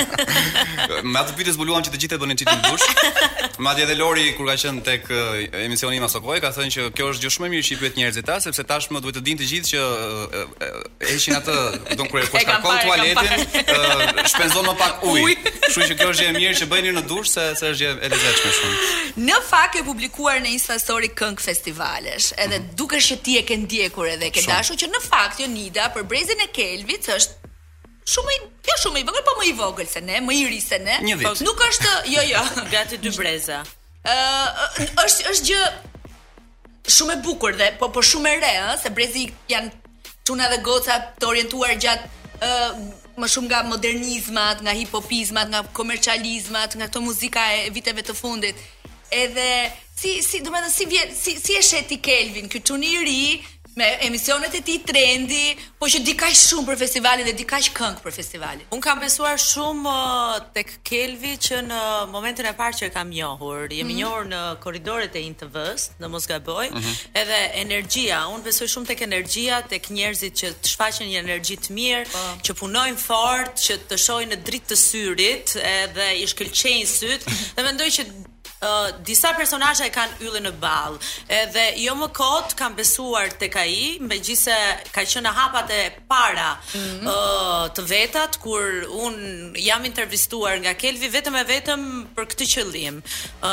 Speaker 5: Me atë pyetje zbuluan që të gjithë e bënin çitin dush. Madje edhe Lori kur ka qenë tek eh, emisioni i Masokoj ka thënë që kjo është gjë shumë e mirë që i pyet njerëzit ta, sepse tashmë duhet të dinë të gjithë që eh, eh, heqin atë, don kur kur
Speaker 1: E kam
Speaker 5: shkarkon
Speaker 1: parë, e kam
Speaker 5: tualetin, eh, shpenzon më pak ujë. Kështu që kjo është gjë e mirë që bëjnë në dush se se është gjë e lezetshme shumë.
Speaker 1: Në fakt e publikuar në Insta story këngë festivalesh, edhe dukesh që ti e ke ndjekur edhe e ke
Speaker 5: Mhm. Shumë.
Speaker 1: dashur që në fakt Jonida për brezin e Kelvit është shumë i jo shumë i vogël, po më i vogël se ne, më i ri se ne.
Speaker 5: Një vit.
Speaker 1: Po, Nuk është jo jo.
Speaker 4: Gati dy breza.
Speaker 1: Ë ë, është është gjë shumë e bukur dhe po po shumë e re, ë, se brezi janë çuna dhe goca të orientuar gjatë ë më shumë nga modernizmat, nga hipopizmat, nga komercializmat, nga këto muzika e viteve të fundit. Edhe si si do të thënë si vjen si si e sheh ti Kelvin, ky çuni i ri me emisionet e tij trendi, po që di kaq shumë për festivalin dhe di kaq këngë për festivalin.
Speaker 4: Un kam besuar shumë uh, tek Kelvi që në momentin e parë që e kam njohur, jemi njohur në korridoret e Intv-s, në mos gaboj, edhe energjia, un besoj shumë tek energjia, tek njerëzit që të shfaqin një energji të mirë, që punojnë fort, që të shohin në dritë të syrit, edhe i shkëlqejnë syt, dhe mendoj që Uh, disa personazhe e kanë yllën në ball. Edhe jo më kot kam besuar tek ai, megjithse ka qenë në hapat e para ë të vetat kur un jam intervistuar nga Kelvi vetëm e vetëm për këtë qëllim. ë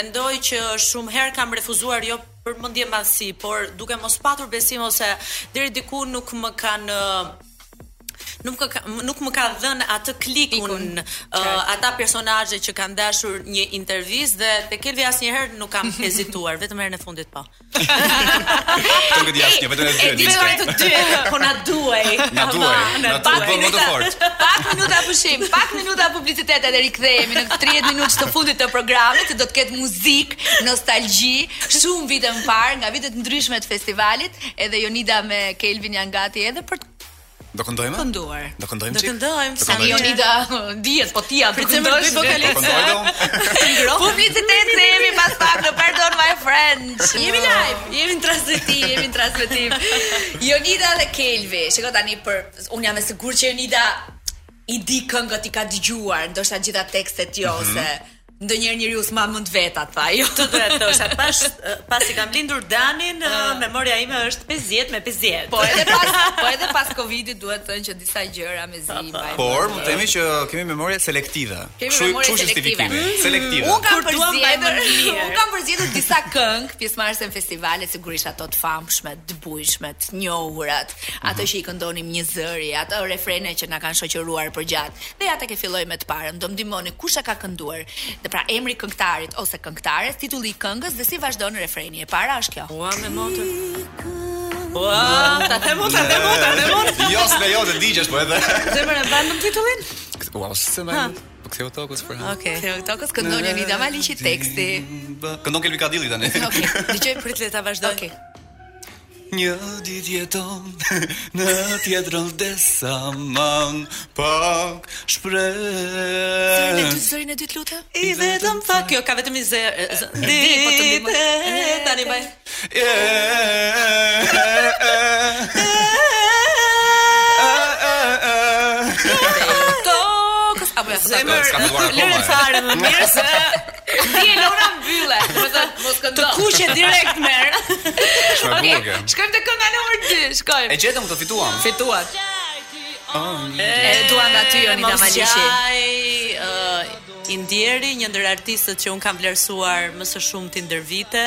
Speaker 4: mendoj që shumë herë kam refuzuar jo për mendje masi, por duke mos patur besim ose deri diku nuk më kanë ë, nuk ka nuk më ka dhënë atë klikun uh, ata personazhe që kanë dashur një intervistë dhe te Kelvi asnjëherë nuk kam hezituar, vetëm herën e fundit po.
Speaker 5: Nuk e di asnjë, vetëm e dy.
Speaker 4: Vetëm
Speaker 5: diçka.
Speaker 4: të dy, po na duaj.
Speaker 5: Na duaj,
Speaker 4: Ama,
Speaker 5: na duaj po më të fort.
Speaker 1: Pak minuta pushim, pak minuta publicitet edhe rikthehemi në 30 minutë të fundit të programit, që do të ketë muzikë, nostalgji, shumë vite më parë, nga vitet ndryshme të festivalit, edhe Jonida me Kelvin janë gati edhe për të
Speaker 5: Do këndojmë?
Speaker 4: Kënduar.
Speaker 5: Do këndojmë
Speaker 4: Do
Speaker 5: çik?
Speaker 4: këndojmë,
Speaker 5: Do
Speaker 4: sa
Speaker 5: këndojmë çik?
Speaker 1: Jonida dihet, po ti ja do
Speaker 4: Përcemër
Speaker 1: këndosh.
Speaker 4: dy vokalist.
Speaker 5: Po këndoj do?
Speaker 1: Publicitet se Po jemi pas pak në Pardon My Friend. Jemi live, jemi në transmetim, jemi në transmetim. Jonida dhe Kelvi. Shiko tani për un jam e sigurt që Jonida i di këngët i ka dëgjuar, ndoshta gjitha tekstet jo ose ndonjëherë njeriu s'ma mund vetat tha. Jo.
Speaker 4: Të dhe të është, pas, uh, pas i kam lindur Danin, ë, memoria ime është 50 me 50.
Speaker 1: Po edhe pas po edhe pas Covidit duhet të thënë që disa gjëra me zi. mbajmë.
Speaker 5: Por mund të themi që kemi memorie selektive.
Speaker 1: Kemi
Speaker 5: Kështu-
Speaker 1: memorie
Speaker 5: kështu është
Speaker 1: selektive. Mm.
Speaker 5: justifikimi. Selektive.
Speaker 1: Unë kam
Speaker 4: Kur duam,
Speaker 1: përzgjedhur,
Speaker 4: mbajmë në lirë.
Speaker 1: unë kam përzgjedhur disa këngë pjesëmarrëse në festivale, sigurisht ato të famshme, të bujshme, të njohurat, ato që i këndonim një zëri, ato refrene që na kanë shoqëruar përgjatë. Dhe ja tek e filloj me të parën, do ndihmoni kush e ka kënduar. Dhe pra emri këngëtarit ose këngëtares, titulli i këngës dhe si vazhdon refreni. E para është kjo.
Speaker 4: Ua, me motor. Po, Ua, ta themo, ta themo, ta themo.
Speaker 5: Jo, s'le jo të digjesh po edhe.
Speaker 4: Zemër e bandëm titullin?
Speaker 5: Ua, s'e më. Po ktheu tokës për hap.
Speaker 4: Okej.
Speaker 1: Theo Tokës këndon Jonida Maliqi teksti.
Speaker 5: Këndon Kelvi Kadilli tani.
Speaker 1: Okej, dëgjoj për
Speaker 4: Prit le ta vazhdoj.
Speaker 1: Okej.
Speaker 5: Një dit jeton Në tjetërën desa man Pak
Speaker 1: Zërin e
Speaker 5: shpre
Speaker 1: dytë, zërin e dytë lutem.
Speaker 4: I vetëm tha kjo ka vetëm i zë di
Speaker 1: po
Speaker 4: po
Speaker 1: të
Speaker 4: të
Speaker 1: ndihmoj.
Speaker 4: tani baj.
Speaker 1: Tokës apo ja.
Speaker 4: Zemër,
Speaker 5: s'ka filluar akoma,
Speaker 4: lërë
Speaker 5: e.
Speaker 4: fare më mirë se
Speaker 1: Ti e lona mbylle, do të thotë mos
Speaker 4: të
Speaker 1: këndo.
Speaker 4: kuqe direkt merr.
Speaker 5: Shme
Speaker 1: Okej,
Speaker 5: burë kjo
Speaker 1: shkojmë te kënga numër 2, shkojmë.
Speaker 5: E gjetëm të fituam
Speaker 4: Fituat.
Speaker 1: E dua nga ty Jonida
Speaker 4: Mos
Speaker 1: Maliqi.
Speaker 4: gjaj, ë, Indieri, një ndër artistët që un kam vlerësuar më së shumti ndër vite,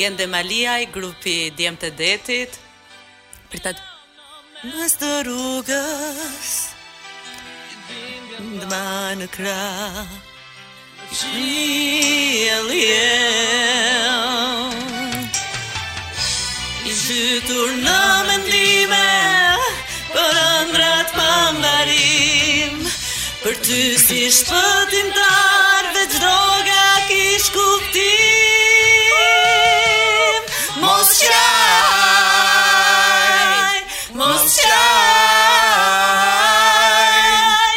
Speaker 4: Gende Maliaj, grupi Djem të Detit. Pritat mes të rrugës ndma në krah. Qiellin I zhytur në mendime Për ëndrat pa mbarim Për ty si shpëtimtar Veç droga kish kuptim Mos qaj Mos qaj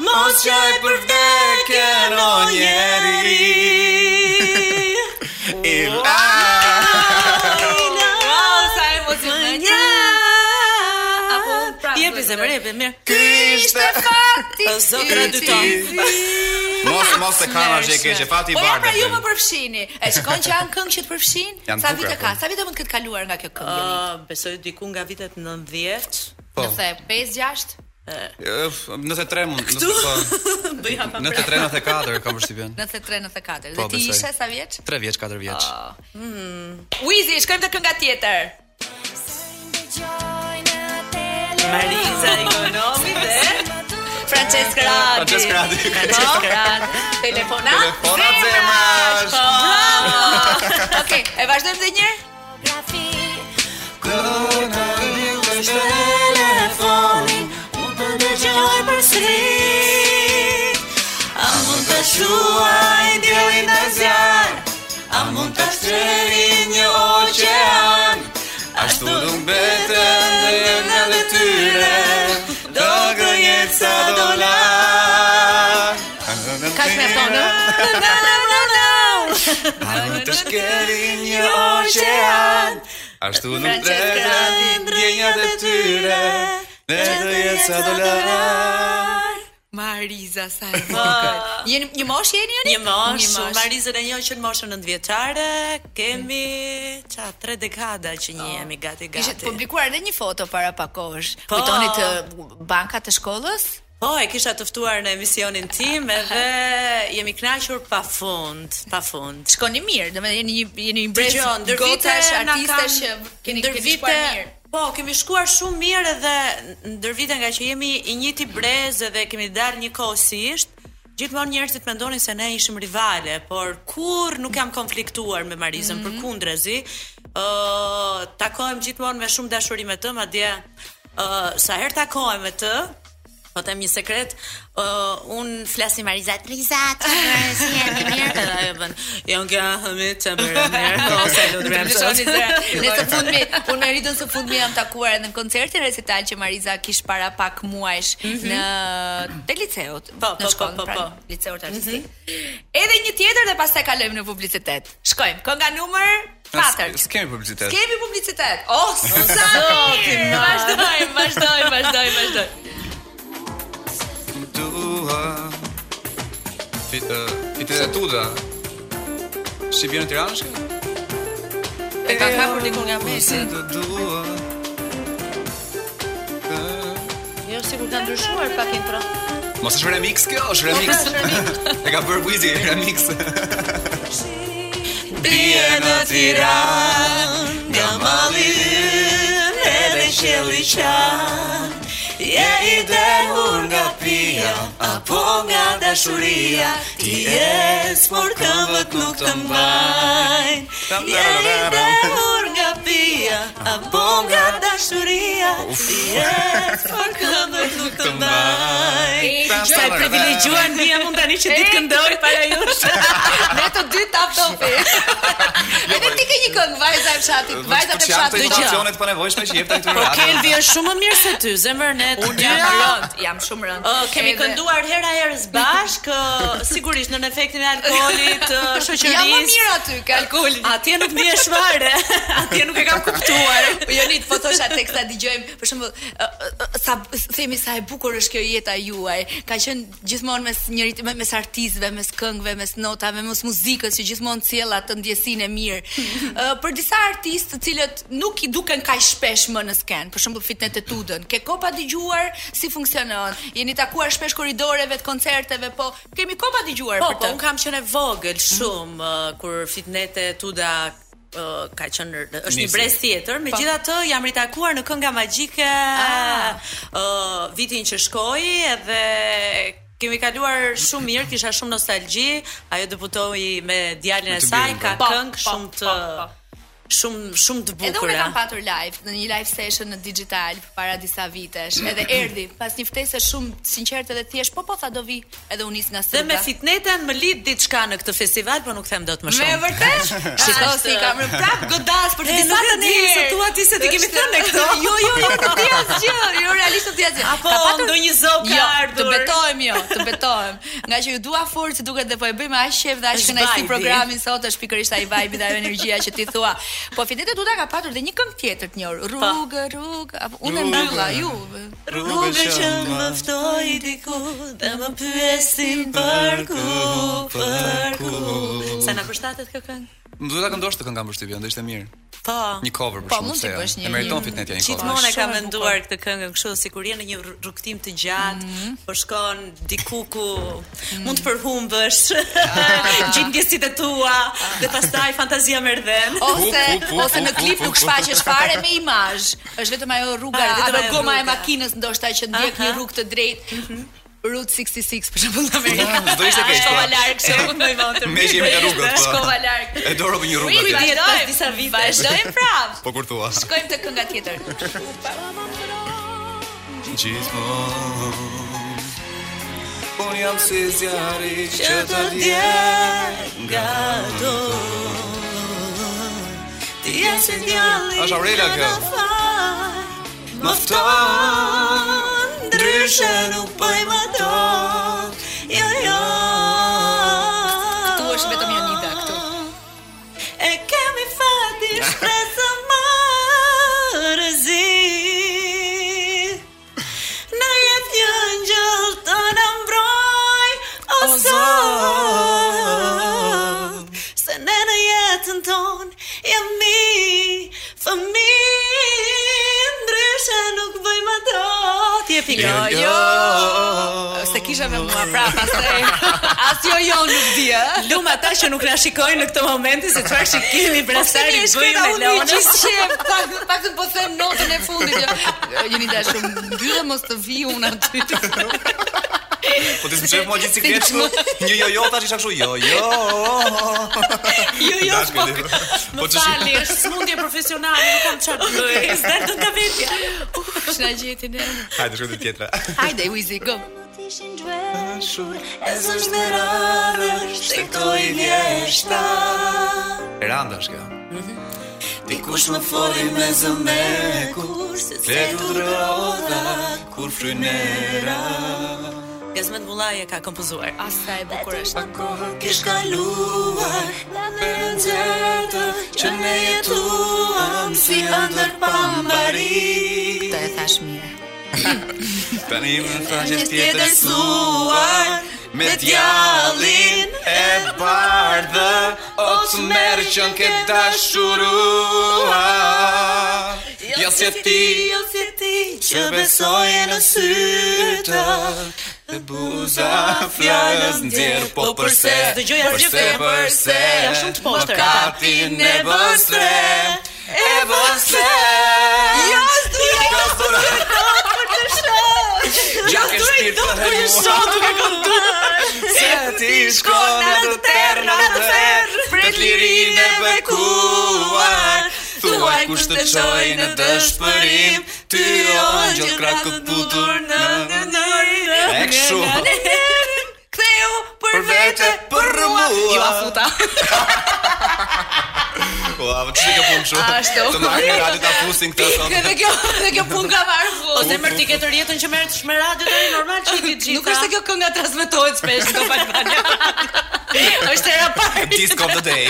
Speaker 4: Mos qaj për vdekjen o njeri
Speaker 1: Wow, sa emocionante. Apo prapë.
Speaker 4: Jepi zemër, jepi, mirë.
Speaker 5: Kishte
Speaker 1: Fati.
Speaker 4: O, zotra dy ton.
Speaker 5: Mos, mos të kanë arë që e keqe Fati i
Speaker 1: Po ja
Speaker 5: bardë
Speaker 1: pra ju më përfshini. E shikon që janë këngë që të përfshin?
Speaker 5: Janë
Speaker 1: Sa
Speaker 5: bukura,
Speaker 1: vite
Speaker 5: po. Ah.
Speaker 1: ka? Sa vite mund të ketë kaluar nga kjo këngë? Jonida?
Speaker 4: Ë, besoj diku nga vitet 90.
Speaker 5: Po,
Speaker 1: Nëse 5 6
Speaker 5: nëse tre mund Këtu?
Speaker 4: Bëj hapa.
Speaker 5: Nëse tre, nëse katër, kam përshtypjen
Speaker 1: 93 94. Dhe
Speaker 5: Po,
Speaker 1: ti
Speaker 5: besoj.
Speaker 1: ishe sa vjeç?
Speaker 5: Tre vjeç, katër vjeç
Speaker 1: Wizi, shkojmë te kënga tjetër.
Speaker 4: Mariza Ekonomi dhe
Speaker 1: Francesc Radi.
Speaker 5: Francesc Radi.
Speaker 1: Francesc Radi. Telefona.
Speaker 5: Telefona zemrash.
Speaker 1: Bravo. Okej, e vazhdojmë edhe një herë.
Speaker 4: telefonin Unë të dëgjoj për sri A mund të shuaj djelin dhe zjarë A mund të shtëri një oqean
Speaker 5: Ashtu nuk betën dhe jem nga dhe tyre Do gënjet sa do la
Speaker 1: Ka shme tonë.
Speaker 5: A më të shkeli një oqean Ashtu nuk
Speaker 1: Francesca,
Speaker 5: betën ndjenjat e tyre Dhe do jetë sa do la
Speaker 1: Mariza sa e bukur. Jeni një mosh jeni jeni?
Speaker 4: Një mosh, Marizën e njohë që në moshën nëndë vjeqare, kemi, qa, tre dekada që një jemi gati
Speaker 1: Ishte
Speaker 4: gati.
Speaker 1: publikuar edhe një foto para pak kohësh.
Speaker 4: Po.
Speaker 1: Kujtoni të bankat të shkollës?
Speaker 4: Po, e kisha të ftuar në emisionin tim edhe jemi knaqur pa fund, pa fund.
Speaker 1: Shkoni mirë, domethënë jeni një jeni një brez
Speaker 4: Dëgjoj, ndër vite
Speaker 1: gocash,
Speaker 4: na
Speaker 1: artistesh
Speaker 4: kanë-
Speaker 1: që keni
Speaker 4: ndër
Speaker 1: keni
Speaker 4: vite
Speaker 1: shkuar mirë.
Speaker 4: Po, kemi shkuar shumë mirë edhe ndër vite nga që jemi i njëjti brez edhe kemi dalë njëkohësisht, gjithmonë njerëzit mendonin se ne ishim rivale, por kur nuk jam konfliktuar me Marizën, mm përkundrazi, ë takohem gjithmonë me shumë dashuri me të, madje ë sa herë takohem me të, Po them një sekret, uh, un flas me Mariza Trizat, si jeni mirë? Edhe ajo bën. Jo nga Hamit Çamera mirë, ose Ludrem.
Speaker 1: Ndryshoni zëra. Në së fundmi, unë me Ritën së fundmi jam takuar edhe në koncertin recital që Mariza kish para pak muajsh në te liceut,
Speaker 4: Mhm. Po, po,
Speaker 1: në
Speaker 4: po,
Speaker 1: shkollën,
Speaker 4: po,
Speaker 1: pra,
Speaker 4: po.
Speaker 1: liceu artistik. Edhe një tjetër dhe pastaj kalojmë në publicitet. Shkojmë, kënga numër 4.
Speaker 5: S- S'kemi publicitet.
Speaker 1: Kemi publicitet. Oh, sa mirë! Vazhdojmë, vazhdojmë, vazhdojmë, vazhdojmë.
Speaker 5: Dua Fit, uh, fit e tuda Si bjën tiranëshke?
Speaker 4: E ka kapur diku nga mesi.
Speaker 5: Se të dua
Speaker 4: Jo sikur ka ndryshuar pak intro.
Speaker 5: Mos është remix kjo, është remix E ka bërë Wizi, remix
Speaker 4: Bie në Tiran, nga mali ynë edhe qëlli qanë, je i dehur nga pia, apo nga dashuria, ti je s'por këmbët nuk të mbajnë. Je i dehur nga pia, apo nga dashuria, ti je s'por këmbët nuk të mbajnë. Sa e privilegjuar mia mund tani që ditë këndoj jo para jush.
Speaker 1: Ne të dy tap topi.
Speaker 4: Jo,
Speaker 1: Edhe
Speaker 4: po.
Speaker 1: ti ke një këngë vajza e fshatit, vajza e
Speaker 5: të
Speaker 1: fshatit.
Speaker 4: dëgjoj.
Speaker 5: informacionet pa nevojshme që jepta këtu
Speaker 4: Po
Speaker 5: në radio
Speaker 4: Kelvi është shumë më mirë se ty, zemër ne të
Speaker 1: Unë
Speaker 4: dy.
Speaker 1: jam rënd, jam shumë rënd.
Speaker 4: Ë, kemi
Speaker 1: Edhe-
Speaker 4: kënduar hera herës bashk, ë, sigurisht nën efektin e alkoolit, ë,
Speaker 1: Jam më
Speaker 4: shoqërisë.
Speaker 1: mirë aty ke alkoolin.
Speaker 4: Atje nuk ndihesh fare. Atje nuk e kam kuptuar.
Speaker 1: Po Jonit, po thosha tek sa dëgjojmë, për shembull, ë, ë, ë, sa themi sa e bukur është kjo jeta juaj. Ka qenë gjithmonë mes njërit me- mes artistëve, mes këngëve, mes notave, mes muzikës që gjithmonë sjella të ndjesinë e mirë. Ë, për disa artistë të cilët nuk i duken kaq shpesh më në sken, për shembull Fitnet e Tudën, ke kopa dëgjuar si funksionon? Jeni takuar shpesh koridoreve të koncerteve, po kemi kopa dëgjuar
Speaker 4: Po,
Speaker 1: për
Speaker 4: po,
Speaker 1: të.
Speaker 4: unë kam qenë e vogël shumë ë, kur fitnete Tuda ë, ka qenë është një
Speaker 5: Nisi.
Speaker 4: brez tjetër, megjithatë jam ritakuar në kënga magjike
Speaker 1: Ah.
Speaker 4: ë, vitin që shkoi edhe kemi kaluar shumë mirë, kisha shumë nostalgji, ajo deputoi me djalin e
Speaker 5: të
Speaker 4: saj,
Speaker 5: birin,
Speaker 4: ka
Speaker 1: po.
Speaker 4: këngë
Speaker 1: Po, po,
Speaker 4: shumë të
Speaker 1: po,
Speaker 4: shumë shumë të
Speaker 1: Edhe unë e
Speaker 4: bukura.
Speaker 1: kam patur live, në një live session në digital para disa vitesh. Edhe erdhi pas një ftese shumë sinqerte dhe thjesht, po po tha do vi, edhe u nis nga
Speaker 4: Dhe
Speaker 1: stuga.
Speaker 4: me fitneten më lid diçka në këtë festival, por nuk them dot më
Speaker 1: Me
Speaker 4: shumë.
Speaker 1: vërtet? Shiko si kam rënë prap godas për të
Speaker 4: E,
Speaker 1: disa
Speaker 4: nuk e
Speaker 1: të
Speaker 4: di,
Speaker 1: tjerë.
Speaker 4: se thua ti se ti kemi
Speaker 1: Është-
Speaker 4: thënë ne këto.
Speaker 1: Jo, jo, jo, nuk di asgjë. Jo, realisht nuk di asgjë.
Speaker 4: Apo
Speaker 1: Ka patur-
Speaker 4: ndonjë zop ka
Speaker 1: Jo, të
Speaker 4: ardhur.
Speaker 1: betohem jo, të betohem. Nga që ju dua fort, se duket dhe po e bëjmë aq shef dhe aq
Speaker 4: Është
Speaker 1: kënaqësi
Speaker 4: vibe-i.
Speaker 1: programin sot është pikërisht ai vibe dhe ajo energjia që ti thua. Po Fidete Duda ka patur dhe një këngë tjetër të njohur. Rrugë, rrugë, apo unë e mbylla ju.
Speaker 4: Rrugë që më ftoi diku Dhe më pyesin për ku, për ku Sa na përshtatet kjo këngë?
Speaker 5: Më duhet ta këndosh të këngë kam përshtypjen, do ishte mirë.
Speaker 4: Po
Speaker 5: Një cover për
Speaker 1: Po,
Speaker 5: shkak
Speaker 1: mund t'i bësh një-
Speaker 5: E meriton
Speaker 1: një-
Speaker 5: fitnetja një cover.
Speaker 4: Gjithmonë e
Speaker 1: Shumë
Speaker 4: ka
Speaker 1: e
Speaker 4: menduar këtë këngën kështu sikur je në një rru- rrugtim të gjatë,
Speaker 1: Mhm.
Speaker 4: po shkon diku ku mund të përhumbësh
Speaker 1: Ah.
Speaker 4: gjithë ndjesitë tua dhe pastaj fantazia merr dhën.
Speaker 1: Ose
Speaker 5: Pu, pu, pu,
Speaker 1: ose në
Speaker 5: pu,
Speaker 1: klip
Speaker 5: pu,
Speaker 1: nuk
Speaker 5: pu.
Speaker 1: shfaqesh fare me imazh. Është vetëm ajo rruga,
Speaker 4: Ah,
Speaker 1: vetëm
Speaker 4: vetëm
Speaker 1: ajo
Speaker 4: ajo
Speaker 1: goma e
Speaker 4: rruga.
Speaker 1: makinës ndoshta që ndjek një
Speaker 4: Aha. Mhm.
Speaker 1: rrugë të drejtë. Route 66 për shembull në Amerikë.
Speaker 5: Ja, do ishte keq,
Speaker 1: Shkova
Speaker 5: po.
Speaker 1: larg, shkova në votër.
Speaker 5: Me që jemi nga rrugët, po.
Speaker 1: Shkova larg.
Speaker 5: E do robi një rrugë
Speaker 1: Ui,
Speaker 5: atje.
Speaker 4: Kujdes pas
Speaker 1: vazhdojmë.
Speaker 4: disa vite.
Speaker 1: Vazhdojmë prapë.
Speaker 5: Po kur thua.
Speaker 1: Shkojmë te kënga tjetër.
Speaker 5: Gjithmonë Unë jam si zjari
Speaker 4: Që të djerë nga do Ti e si djalli
Speaker 5: Është Aurela
Speaker 4: nga
Speaker 5: kjo.
Speaker 4: na faj, Më fton Ndryshe nuk pëj më do Jo, jo
Speaker 1: Këtu është vetëm Jonida, këtu.
Speaker 4: E kemi fati shpresë më rëzi Në jetë një ngjëll të në mbroj O Zot Se ne në jetën ton jemi fëmi Ndryshe nuk bëjmë ato Ti e
Speaker 1: Jo,
Speaker 4: pikë
Speaker 1: jo. Se kisha me mua prapë, asaj. As jo jo nuk di Luja.
Speaker 4: Lum ata që nuk na shikojnë në këtë moment se çfarë shikimi brastari bëj me
Speaker 1: unë
Speaker 4: Leonën.
Speaker 1: gjithë shef, pak, pak të po them notën e fundit. jo. Jeni dashur, dyre mos të vi unë aty.
Speaker 5: Po ti s'mshef mua gjithë sikletë Një jo jo tash isha kështu jo jo.
Speaker 4: Jo, jo,
Speaker 5: Dashkë,
Speaker 4: po.
Speaker 5: di.
Speaker 4: Më
Speaker 5: Po që shi-
Speaker 4: fali, është smundje profesionale, nuk kam çfarë bëj. S'dal dot nga vetja.
Speaker 1: Shna gjeti ne.
Speaker 5: Hajde shkoj te tjetra.
Speaker 1: Hajde, Wizi, go.
Speaker 8: T'ishin dveshur E
Speaker 5: është
Speaker 8: zëshme rarë Shtetoj vjeshta
Speaker 5: Randa është kjo.
Speaker 4: Mhm.
Speaker 8: Dikush më foli me zëmeku Se se
Speaker 5: Fletu
Speaker 8: tu
Speaker 5: rrodha kur frynera.
Speaker 4: Gazmet Bullaj e ka kompozuar.
Speaker 1: Asa e bukur është.
Speaker 8: Pa kohë kish kaluar Dhe me rëndjetë Që ne jetuam Si ndër pambari
Speaker 1: Të e thash mirë.
Speaker 5: Tani më thashë
Speaker 8: Një
Speaker 5: tjetër
Speaker 8: tjetër
Speaker 5: suar me djallin e bardhë o të merë që në ke dashurua Ja se ti
Speaker 8: Jo si ti
Speaker 5: që besoje në sytë Dhe buza fjallës ndjerë po përse
Speaker 4: Dëgjoj asgjë
Speaker 5: Përse,
Speaker 4: fare.
Speaker 5: përse
Speaker 4: Jam shumë të poshtër.
Speaker 5: Më katin e bëstre E bëstre
Speaker 1: Jo, s'du e
Speaker 5: Ja ke shpirë të hëllua
Speaker 4: ka
Speaker 5: Se ti shkon në të terë në të terë Pret lirin e bekuar Thuaj kush të qoj në dëshpërim Ty o gjëllë krakë putur në në në E këshu
Speaker 1: Ktheu për
Speaker 5: Për vete për mua
Speaker 1: Ju afuta.
Speaker 5: Ua, më të shikë punë këshu
Speaker 1: Ashtu.
Speaker 5: Të marrë në radio të apusin këtë
Speaker 1: Kjo
Speaker 5: sot
Speaker 1: dhe kjo, dhe kjo punë ka marrë
Speaker 4: Ose
Speaker 1: fund.
Speaker 4: mërë ti këtë rjetën që merret me radio tani normal që i ke gjitha.
Speaker 1: Nuk është se kjo kënga transmetohet shpesh në Albania. është era parë.
Speaker 5: Disco of the day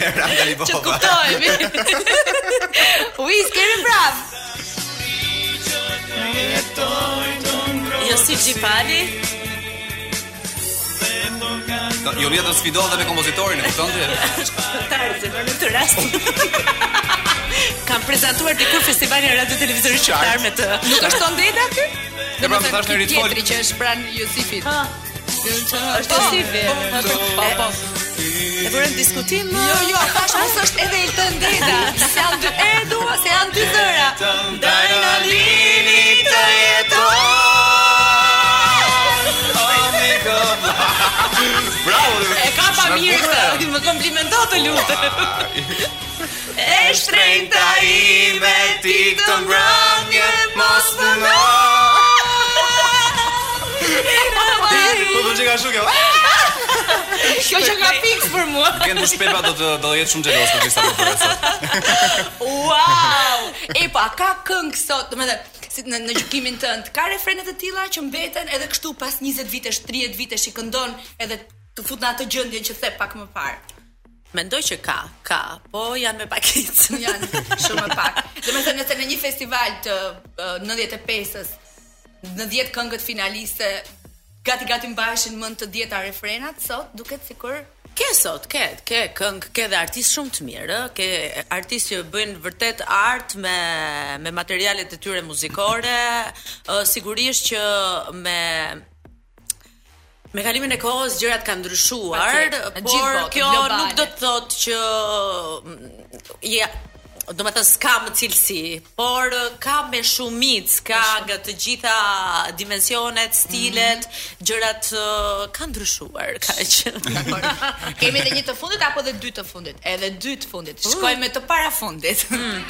Speaker 5: Randa
Speaker 1: Që të
Speaker 5: Libova
Speaker 1: kuptohemi. Wiz, kemi prapë.
Speaker 4: jo si Xhipali.
Speaker 5: Julia do të sfidon jo dhe me kompozitorin, e kupton ti?
Speaker 4: Tarzi, në këtë rast. Kam prezantuar dikur festivalin e radio televiziorit shqiptar me të.
Speaker 1: Nuk është tondeta ky?
Speaker 5: E pra më thash në
Speaker 1: ky
Speaker 5: ritfol.
Speaker 1: tjetri që është pranë Jusifit.
Speaker 4: Është Josifi.
Speaker 1: Po, po.
Speaker 4: E vërëm diskutim.
Speaker 1: Jo, jo, thash mos është edhe Elton Deda. Se janë dy e dua, se janë dy zëra.
Speaker 5: Të ndaj në lini të jeton O miko Bravo
Speaker 4: E ka pa mirë këtë. Më komplimento të lutem.
Speaker 5: E shtrejnëta ime ti këtë mbrëmje Mos më në Po të që ka shuke
Speaker 1: Kjo që nga fix për mua.
Speaker 5: Kënë të shpepa do të do jetë shumë gjelos për kësa përpërësa
Speaker 1: Wow! E pa ka këngë sot, domethënë si në, në gjykimin tënd, ka refrene të tilla që mbeten edhe kështu pas 20 vitesh, 30 vitesh i këndon edhe të fut në atë gjendje që the pak më parë.
Speaker 4: Mendoj që ka, ka, po janë me pakicë.
Speaker 1: Janë shumë e pak. Dhe me thënë nëse në një festival të uh, 95-ës, në 10 këngët finaliste, gati gati mbajshin mend të 10 refrenat, sot duket sikur
Speaker 4: Ke sot, ke, ke këngë, ke dhe artist shumë të mirë, ë, ke artist që bëjnë vërtet art me me materialet e tyre muzikore, ë, sigurisht që me Me kalimin e kohës gjërat kanë ndryshuar,
Speaker 1: Patjetër, në
Speaker 4: por
Speaker 1: gjithë botën,
Speaker 4: kjo
Speaker 1: globale.
Speaker 4: nuk do të thotë që mm, ja, do më thënë s'ka më cilësi, por eh, ka me shumic, ka nga të gjitha dimensionet, stilet,
Speaker 1: Mhm.
Speaker 4: gjërat eh, kanë ndryshuar, kaq.
Speaker 1: Dakor. Kemi edhe një të fundit apo edhe dy të fundit? Edhe dy të fundit. Shkojmë me të para fundit.
Speaker 4: Mm.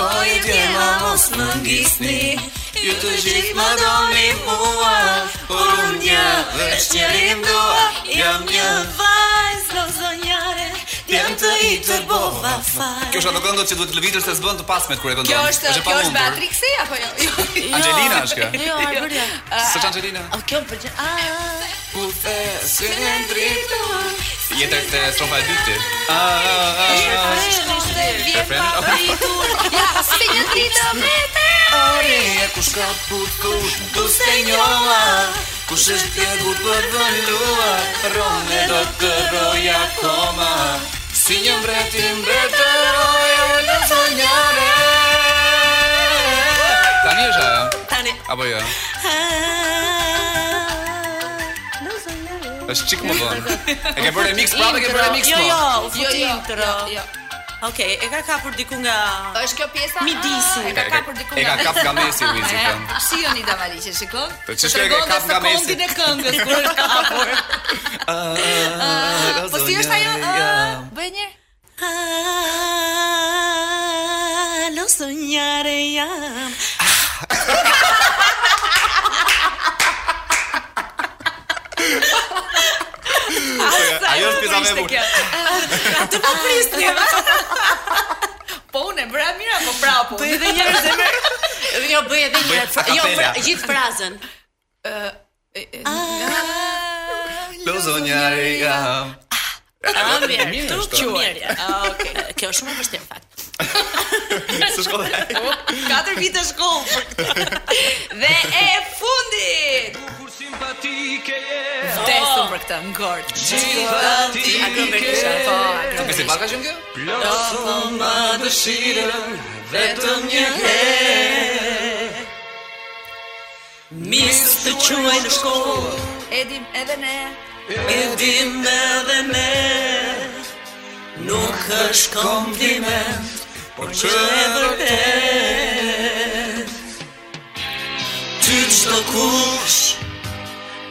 Speaker 8: O i djema mos më ngisni Ju të gjithë më doni mua Por unë një vesh qërim dua Jam një vajzë lozonjare Djem të i të bova fare
Speaker 5: Kjo është ato këngët që duhet të lëvitër se s'bën të pasmet kur e këndon
Speaker 1: Kjo është
Speaker 5: e
Speaker 1: kjo është
Speaker 5: pamundur.
Speaker 1: Beatrixi apo jo? jo?
Speaker 5: Angelina është kjo
Speaker 4: Jo, e vërtet.
Speaker 5: Së që Angelina
Speaker 4: O kjo më pëlqen. Ah,
Speaker 5: Ku the se në dritë Jetër të strofa e dyti A, a, a, a Refren
Speaker 1: Ja, si një ditë me te.
Speaker 5: Ore, kush ka put kush Du se njova Kush është pjegur për vëllua Rome do të roja koma Si një mbreti mbretë roja Unë në zonjare Tani është ajo
Speaker 4: tani
Speaker 5: Apo jo?
Speaker 4: ah,
Speaker 5: Është çik më vonë. E ke bërë remix prapë, e ke bërë remix
Speaker 4: Jo,
Speaker 5: po.
Speaker 4: jo, u
Speaker 1: Jo,
Speaker 4: futi
Speaker 1: jo,
Speaker 4: intro.
Speaker 1: jo, jo.
Speaker 4: Okej, e ka kapur diku nga
Speaker 1: Është kjo pjesa?
Speaker 4: Midisi.
Speaker 1: Ah, E ka kapur diku.
Speaker 5: E ka
Speaker 1: nga-
Speaker 5: kap nga mesi Wizi.
Speaker 1: E,
Speaker 5: po.
Speaker 1: Si jo një damali që shikon?
Speaker 5: Po ç'është kjo e ka
Speaker 1: Tregon
Speaker 5: kap
Speaker 1: dhe
Speaker 5: nga mesi?
Speaker 1: sekondin e këngës kur është kapur. Ah, Po si është ajo? Ah, Bëj një.
Speaker 4: Ah, Lo soñare jam.
Speaker 5: Ajo është pjesa më e bukur.
Speaker 4: Atë po prisni.
Speaker 1: Po unë e bëra mirë apo prapo?
Speaker 4: Bëj edhe një herë zemër. Jo, bëj edhe një herë.
Speaker 5: Bëj
Speaker 4: Jo,
Speaker 5: acapella.
Speaker 4: fra- gjithë frazën.
Speaker 5: Lozonjare jam.
Speaker 4: Ah, mirë.
Speaker 5: mirë
Speaker 4: Tu
Speaker 5: është.
Speaker 4: që mirë. ja. Ah, Okej. Kjo është shumë e vështirë në fakt.
Speaker 5: Së shkolla.
Speaker 4: 4 vite shkollë. për këtë.
Speaker 1: Dhe e fundit.
Speaker 2: Kur simpatike je
Speaker 1: Vdesëm për këtë ngord.
Speaker 4: A këmbë kisha po. a këmbë.
Speaker 5: Ti pak ka qenë kjo?
Speaker 2: Plotësëm ma dëshirën Vetëm një
Speaker 4: Mis të quaj në shkollë.
Speaker 1: Edim edhe ne.
Speaker 4: E dim edhe ne. Nuk është kompliment, por që e vërtet. Ty çdo kush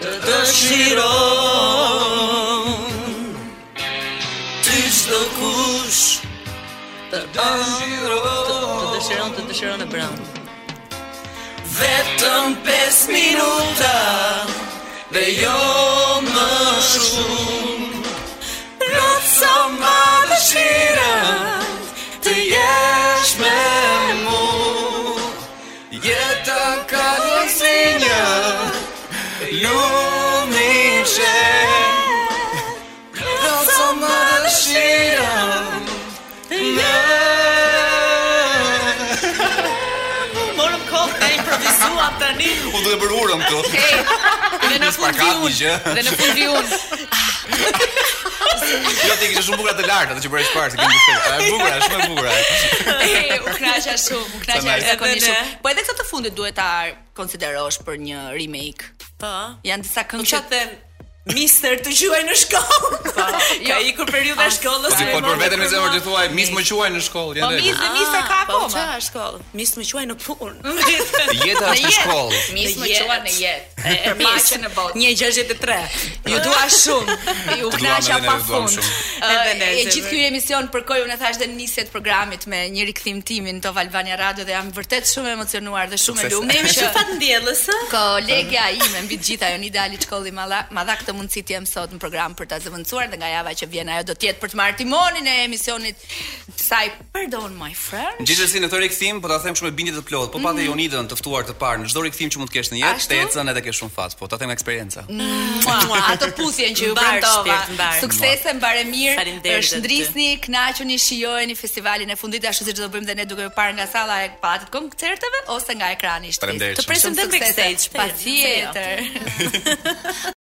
Speaker 4: të dëshiron. Ty çdo kush të dëshiron. Të dëshiron, të dëshiron e brand. Vetëm 5 minuta dhe jo më shumë. Plot sa më dëshira të jesh me mu. Jeta ka një sinja, lumi që. Plot sa më dëshira të jesh. Morëm kohë të improvisuam tani.
Speaker 5: Unë duhet bërë urëm këtu.
Speaker 3: Hey,
Speaker 5: Dhe në fund gjë.
Speaker 3: dhe në fund vi unë.
Speaker 5: Jo ti kishe shumë bukur atë lart, atë që bëre çfarë, se kemi diskutuar. E bukur, është shumë e bukur.
Speaker 1: Hey, u knaqa shumë, u
Speaker 5: Sa
Speaker 1: knaqa
Speaker 5: nice.
Speaker 1: zakonisht.
Speaker 4: Edhe ne.
Speaker 1: shumë. Po edhe këtë të fundit duhet ta konsiderosh për një remake.
Speaker 4: Po.
Speaker 1: Janë disa këngë
Speaker 4: Qa them, mister të quaj në shkollë. Ka ikur periudha e shkollës.
Speaker 5: Po ti
Speaker 4: e
Speaker 5: fol për
Speaker 4: morëm
Speaker 5: veten me zemër
Speaker 4: kurma.
Speaker 5: ti thua, mis më quaj në
Speaker 1: Po
Speaker 5: shkollë, janë
Speaker 1: mis
Speaker 5: rregull.
Speaker 1: dhe mis e ka
Speaker 4: Po
Speaker 1: akoma.
Speaker 4: qa është shkollë? Mis më quaj në punë.
Speaker 5: Jeta është në shkollë.
Speaker 1: Mis
Speaker 4: Në
Speaker 1: më
Speaker 4: jetë.
Speaker 1: qua në jetë. E
Speaker 4: Mis,
Speaker 1: paqen në botë.
Speaker 4: 163.
Speaker 1: Ju dua shumë. Ju
Speaker 5: Të duam
Speaker 1: knaqa
Speaker 5: edhe ne,
Speaker 1: pa
Speaker 5: ju duam
Speaker 1: fund.
Speaker 5: shumë.
Speaker 1: Edhe
Speaker 4: Edhe
Speaker 1: ne.
Speaker 4: ne,
Speaker 1: E
Speaker 4: zemër.
Speaker 1: gjithë ky emision përkoi unë e thash dhe niset programit me një rikthim timin Top Albania Radio dhe jam vërtet shumë emocionuar dhe shumë e
Speaker 5: Sukses.
Speaker 1: lumtur.
Speaker 4: Ne jemi shumë fat ndjellës, ë?
Speaker 1: Kolegja ime mbi të gjitha Jonida Ali Çkolli Malla, ma dha këtë mundësi të jem sot në program për ta zëvendësuar dhe nga java që vjen ajo do të jetë për të marrë timonin e emisionit të saj Pardon my friend.
Speaker 5: Në Gjithsesi në këtë rikthim po ta them shumë me bindje të plot, po patë Jonidën të ftuar të parë në çdo rikthim që mund të kesh në jetë,
Speaker 1: Ashtu?
Speaker 5: të ecën edhe ke shumë fat, po ta them nga eksperienca.
Speaker 1: Mua, ato puthjen që ju
Speaker 4: Mbar
Speaker 1: premtova.
Speaker 4: shpirt, mbar.
Speaker 1: Suksese, mbare mirë.
Speaker 4: Faleminderit
Speaker 1: Është
Speaker 4: edhe ty.
Speaker 1: ndrisni, kënaquni, shijojeni festivalin e fundit ashtu siç do bëjmë dhe ne duke ju parë nga salla e pallatit koncerteve ose nga ekrani i shtëpisë.
Speaker 5: Faleminderit
Speaker 1: Të
Speaker 5: shumë.
Speaker 1: presim
Speaker 4: Shumë
Speaker 1: dhe
Speaker 4: suksese.
Speaker 1: backstage.
Speaker 4: Patjetër.
Speaker 1: Patjetër.